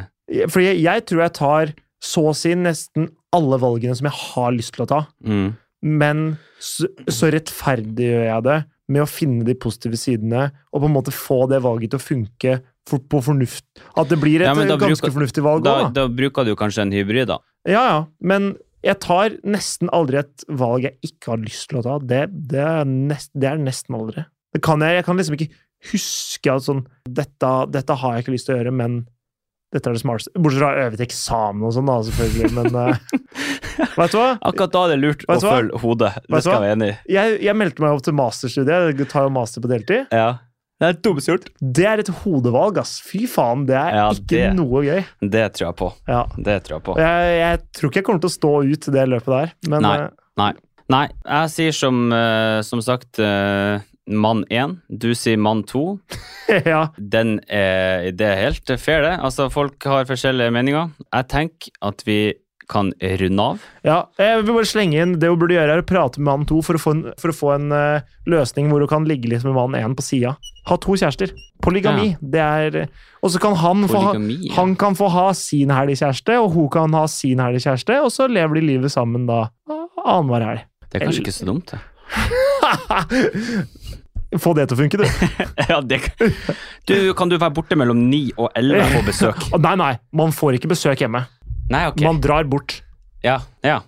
Speaker 1: Fordi jeg, jeg tror jeg tar så å si nesten alle valgene som jeg har lyst til å ta,
Speaker 2: mm,
Speaker 1: men så, så rettferdiggjør jeg det med å finne de positive sidene og på en måte få det valget til å funke for, på fornuft. At det blir et
Speaker 2: Ja, men da
Speaker 1: ganske
Speaker 2: bruker-
Speaker 1: fornuftig valg
Speaker 2: da,
Speaker 1: òg, da.
Speaker 2: da bruker du kanskje en hybrid, da.
Speaker 1: Ja, ja. Men jeg tar nesten aldri et valg jeg ikke har lyst til å ta. Det, det, er, nest, det er nesten aldri. Det kan jeg, jeg kan liksom ikke huske at sånn dette, dette har jeg ikke lyst til å gjøre, men dette er det smarteste. Bortsett fra øve til eksamen og sånn, da, selvfølgelig. Men eh, vet du hva?
Speaker 2: Akkurat da er det lurt å
Speaker 1: Vet du hva?
Speaker 2: følge hodet.
Speaker 1: Vet du
Speaker 2: Det skal
Speaker 1: hva?
Speaker 2: jeg være enig i.
Speaker 1: Jeg, jeg meldte meg opp til masterstudiet. Jeg tar jo master på deltid.
Speaker 2: Ja. Det er dummest gjort.
Speaker 1: Det er et hodevalg, ass. Fy faen, det er
Speaker 2: Ja,
Speaker 1: ikke
Speaker 2: det-
Speaker 1: noe gøy.
Speaker 2: Det tror jeg på.
Speaker 1: Ja.
Speaker 2: Det tror jeg på.
Speaker 1: Og Jeg, jeg tror ikke jeg kommer til å stå ut det løpet der, men
Speaker 2: Nei.
Speaker 1: eh,
Speaker 2: Nei, jeg sier som, eh, som sagt eh, mann én, du sier mann to.
Speaker 1: eh, ja.
Speaker 2: Den er, det er helt fair, det. Altså, folk har forskjellige meninger. Jeg tenker at vi kan runde av.
Speaker 1: Ja, jeg vil bare slenge inn Det hun burde gjøre, er å prate med mann to for å få en, for å få en eh, løsning hvor hun kan ligge litt med mann én på sida. Ha to kjærester. Polygami. Det er eh, Og så kan han få ha,
Speaker 2: Polygami. ja.
Speaker 1: han kan få ha sin helgkjæreste, og hun kan ha sin helgkjæreste, og så lever de livet sammen da ah, annenhver helg.
Speaker 2: Det er kanskje ikke så dumt, det.
Speaker 1: Få det til å funke, du.
Speaker 2: ja, det kan. Du, kan du være borte mellom ni og elleve på besøk?
Speaker 1: Å, Nei, nei, man får ikke besøk hjemme.
Speaker 2: Nei, ok.
Speaker 1: Man drar bort.
Speaker 2: Ja, ja.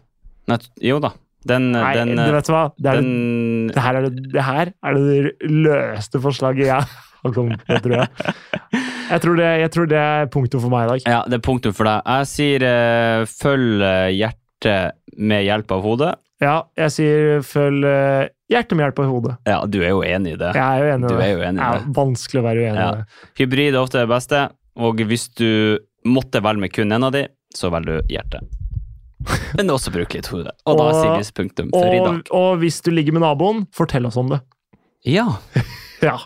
Speaker 2: Nei, jo da. Den, eh,
Speaker 1: Nei,
Speaker 2: den,
Speaker 1: du vet hva? Det, er,
Speaker 2: den
Speaker 1: det, her er det, det her er det løste forslaget jeg har kommet med, tror jeg. Jeg tror, det, jeg tror det er punktet for meg i dag.
Speaker 2: Ja, det er punktum for deg. Jeg sier eh, følg eh, hjertet med hjelp av hodet.
Speaker 1: Ja, jeg sier følg eh, hjertet med hjelp av hodet.
Speaker 2: Ja, du er jo enig i det.
Speaker 1: Jeg er jo
Speaker 2: Du
Speaker 1: enig i det.
Speaker 2: er jo enig i
Speaker 1: Det er
Speaker 2: det.
Speaker 1: vanskelig å være uenig i
Speaker 2: Ja.
Speaker 1: det.
Speaker 2: Hybrid er ofte det beste, og hvis du måtte velge med kun en av de, så velger du hjertet. Men også bruk litt hode. Og da
Speaker 1: Og-
Speaker 2: sier vi punktum for i dag.
Speaker 1: Og, og hvis du ligger med naboen, fortell oss om det.
Speaker 2: Ja.
Speaker 1: Ja,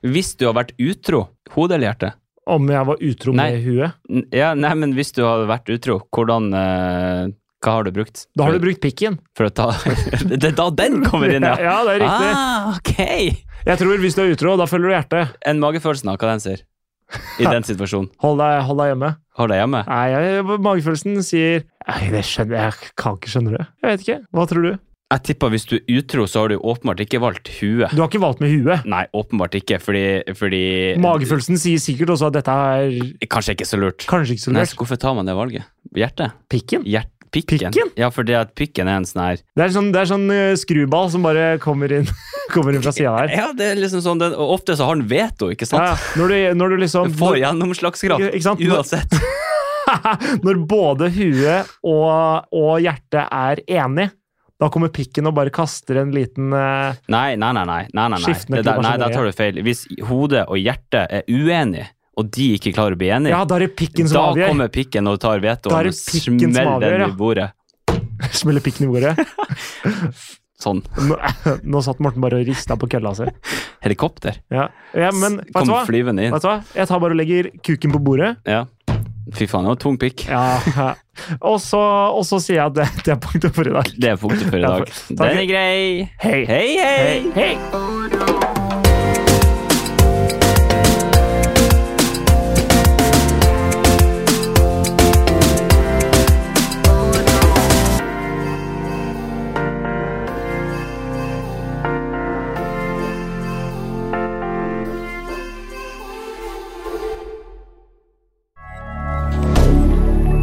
Speaker 2: Hvis du har vært utro, hode eller hjerte?
Speaker 1: Om jeg var utro
Speaker 2: Nei.
Speaker 1: med huet.
Speaker 2: N- Ja, nei, men hvis du har vært utro, hvordan eh, Hva har du brukt?
Speaker 1: Da har du brukt pikken.
Speaker 2: For å ta Det er da den kommer inn,
Speaker 1: Ja,
Speaker 2: ja!
Speaker 1: det er riktig.
Speaker 2: Ah, ok!
Speaker 1: Jeg tror hvis du er utro, da følger du hjertet.
Speaker 2: En magefølelse av hva den sier. I den situasjonen.
Speaker 1: Hold deg, hold deg hjemme.
Speaker 2: Har deg hjemme.
Speaker 1: Nei, jeg, magefølelsen sier Nei, det skjønner jeg. Jeg kan ikke skjønne det. Jeg vet ikke. Hva tror du?
Speaker 2: Jeg tipper hvis du er utro, så har du åpenbart ikke valgt huet.
Speaker 1: Du har ikke valgt med huet.
Speaker 2: Nei, åpenbart ikke, fordi, fordi
Speaker 1: Magefølelsen sier sikkert også at dette er
Speaker 2: Kanskje ikke så lurt.
Speaker 1: kanskje ikke så
Speaker 2: Nei,
Speaker 1: lurt.
Speaker 2: så hvorfor tar man det valget? Hjertet?
Speaker 1: Pikken?
Speaker 2: Hjert pikken?
Speaker 1: Pikken?
Speaker 2: Ja, fordi at pikken er en sånn her
Speaker 1: Det er sånn, det er sånn eh, skruball som bare kommer inn, kommer inn fra sida der.
Speaker 2: Ja, det er liksom sånn den, og Ofte så har den veto, ikke
Speaker 1: Ja,
Speaker 2: sant?
Speaker 1: ja. når, du, når du liksom
Speaker 2: Den får gjennomslagskraft
Speaker 1: Ikke- ikke sant?
Speaker 2: uansett.
Speaker 1: Når både huet og, og hjertet er enig, da kommer pikken og bare kaster en liten eh,
Speaker 2: Nei, nei, nei. nei, nei, nei, nei.
Speaker 1: Skiftende
Speaker 2: Det der, nei
Speaker 1: klimasjoneringer.
Speaker 2: da tar du feil. Hvis hodet og hjertet er uenige, og de ikke klarer å bli enige,
Speaker 1: Ja, da er det pikken som
Speaker 2: da
Speaker 1: avgjør!
Speaker 2: kommer pikken og tar vetoen
Speaker 1: Da er
Speaker 2: og
Speaker 1: det pikken som
Speaker 2: smeller
Speaker 1: avgjør,
Speaker 2: den i
Speaker 1: ja.
Speaker 2: bordet.
Speaker 1: Smeller pikken i bordet.
Speaker 2: Sånn.
Speaker 1: Nå, nå satt Morten bare og rista på kølla si.
Speaker 2: Helikopter.
Speaker 1: Ja. Ja, men vet du
Speaker 2: Kom
Speaker 1: hva?
Speaker 2: flyvende inn.
Speaker 1: Vet du hva? Jeg tar bare og legger kuken på bordet.
Speaker 2: Ja. Fy faen, det var tung pikk.
Speaker 1: Ja. Og så, og så sier jeg at det, det er punktet for i dag.
Speaker 2: Det er punktet for i
Speaker 1: Ja,
Speaker 2: dag.
Speaker 1: for-
Speaker 2: Den er grei.
Speaker 1: Hei.
Speaker 2: Hei, hei.
Speaker 1: Hei!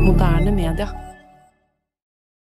Speaker 3: Moderne media.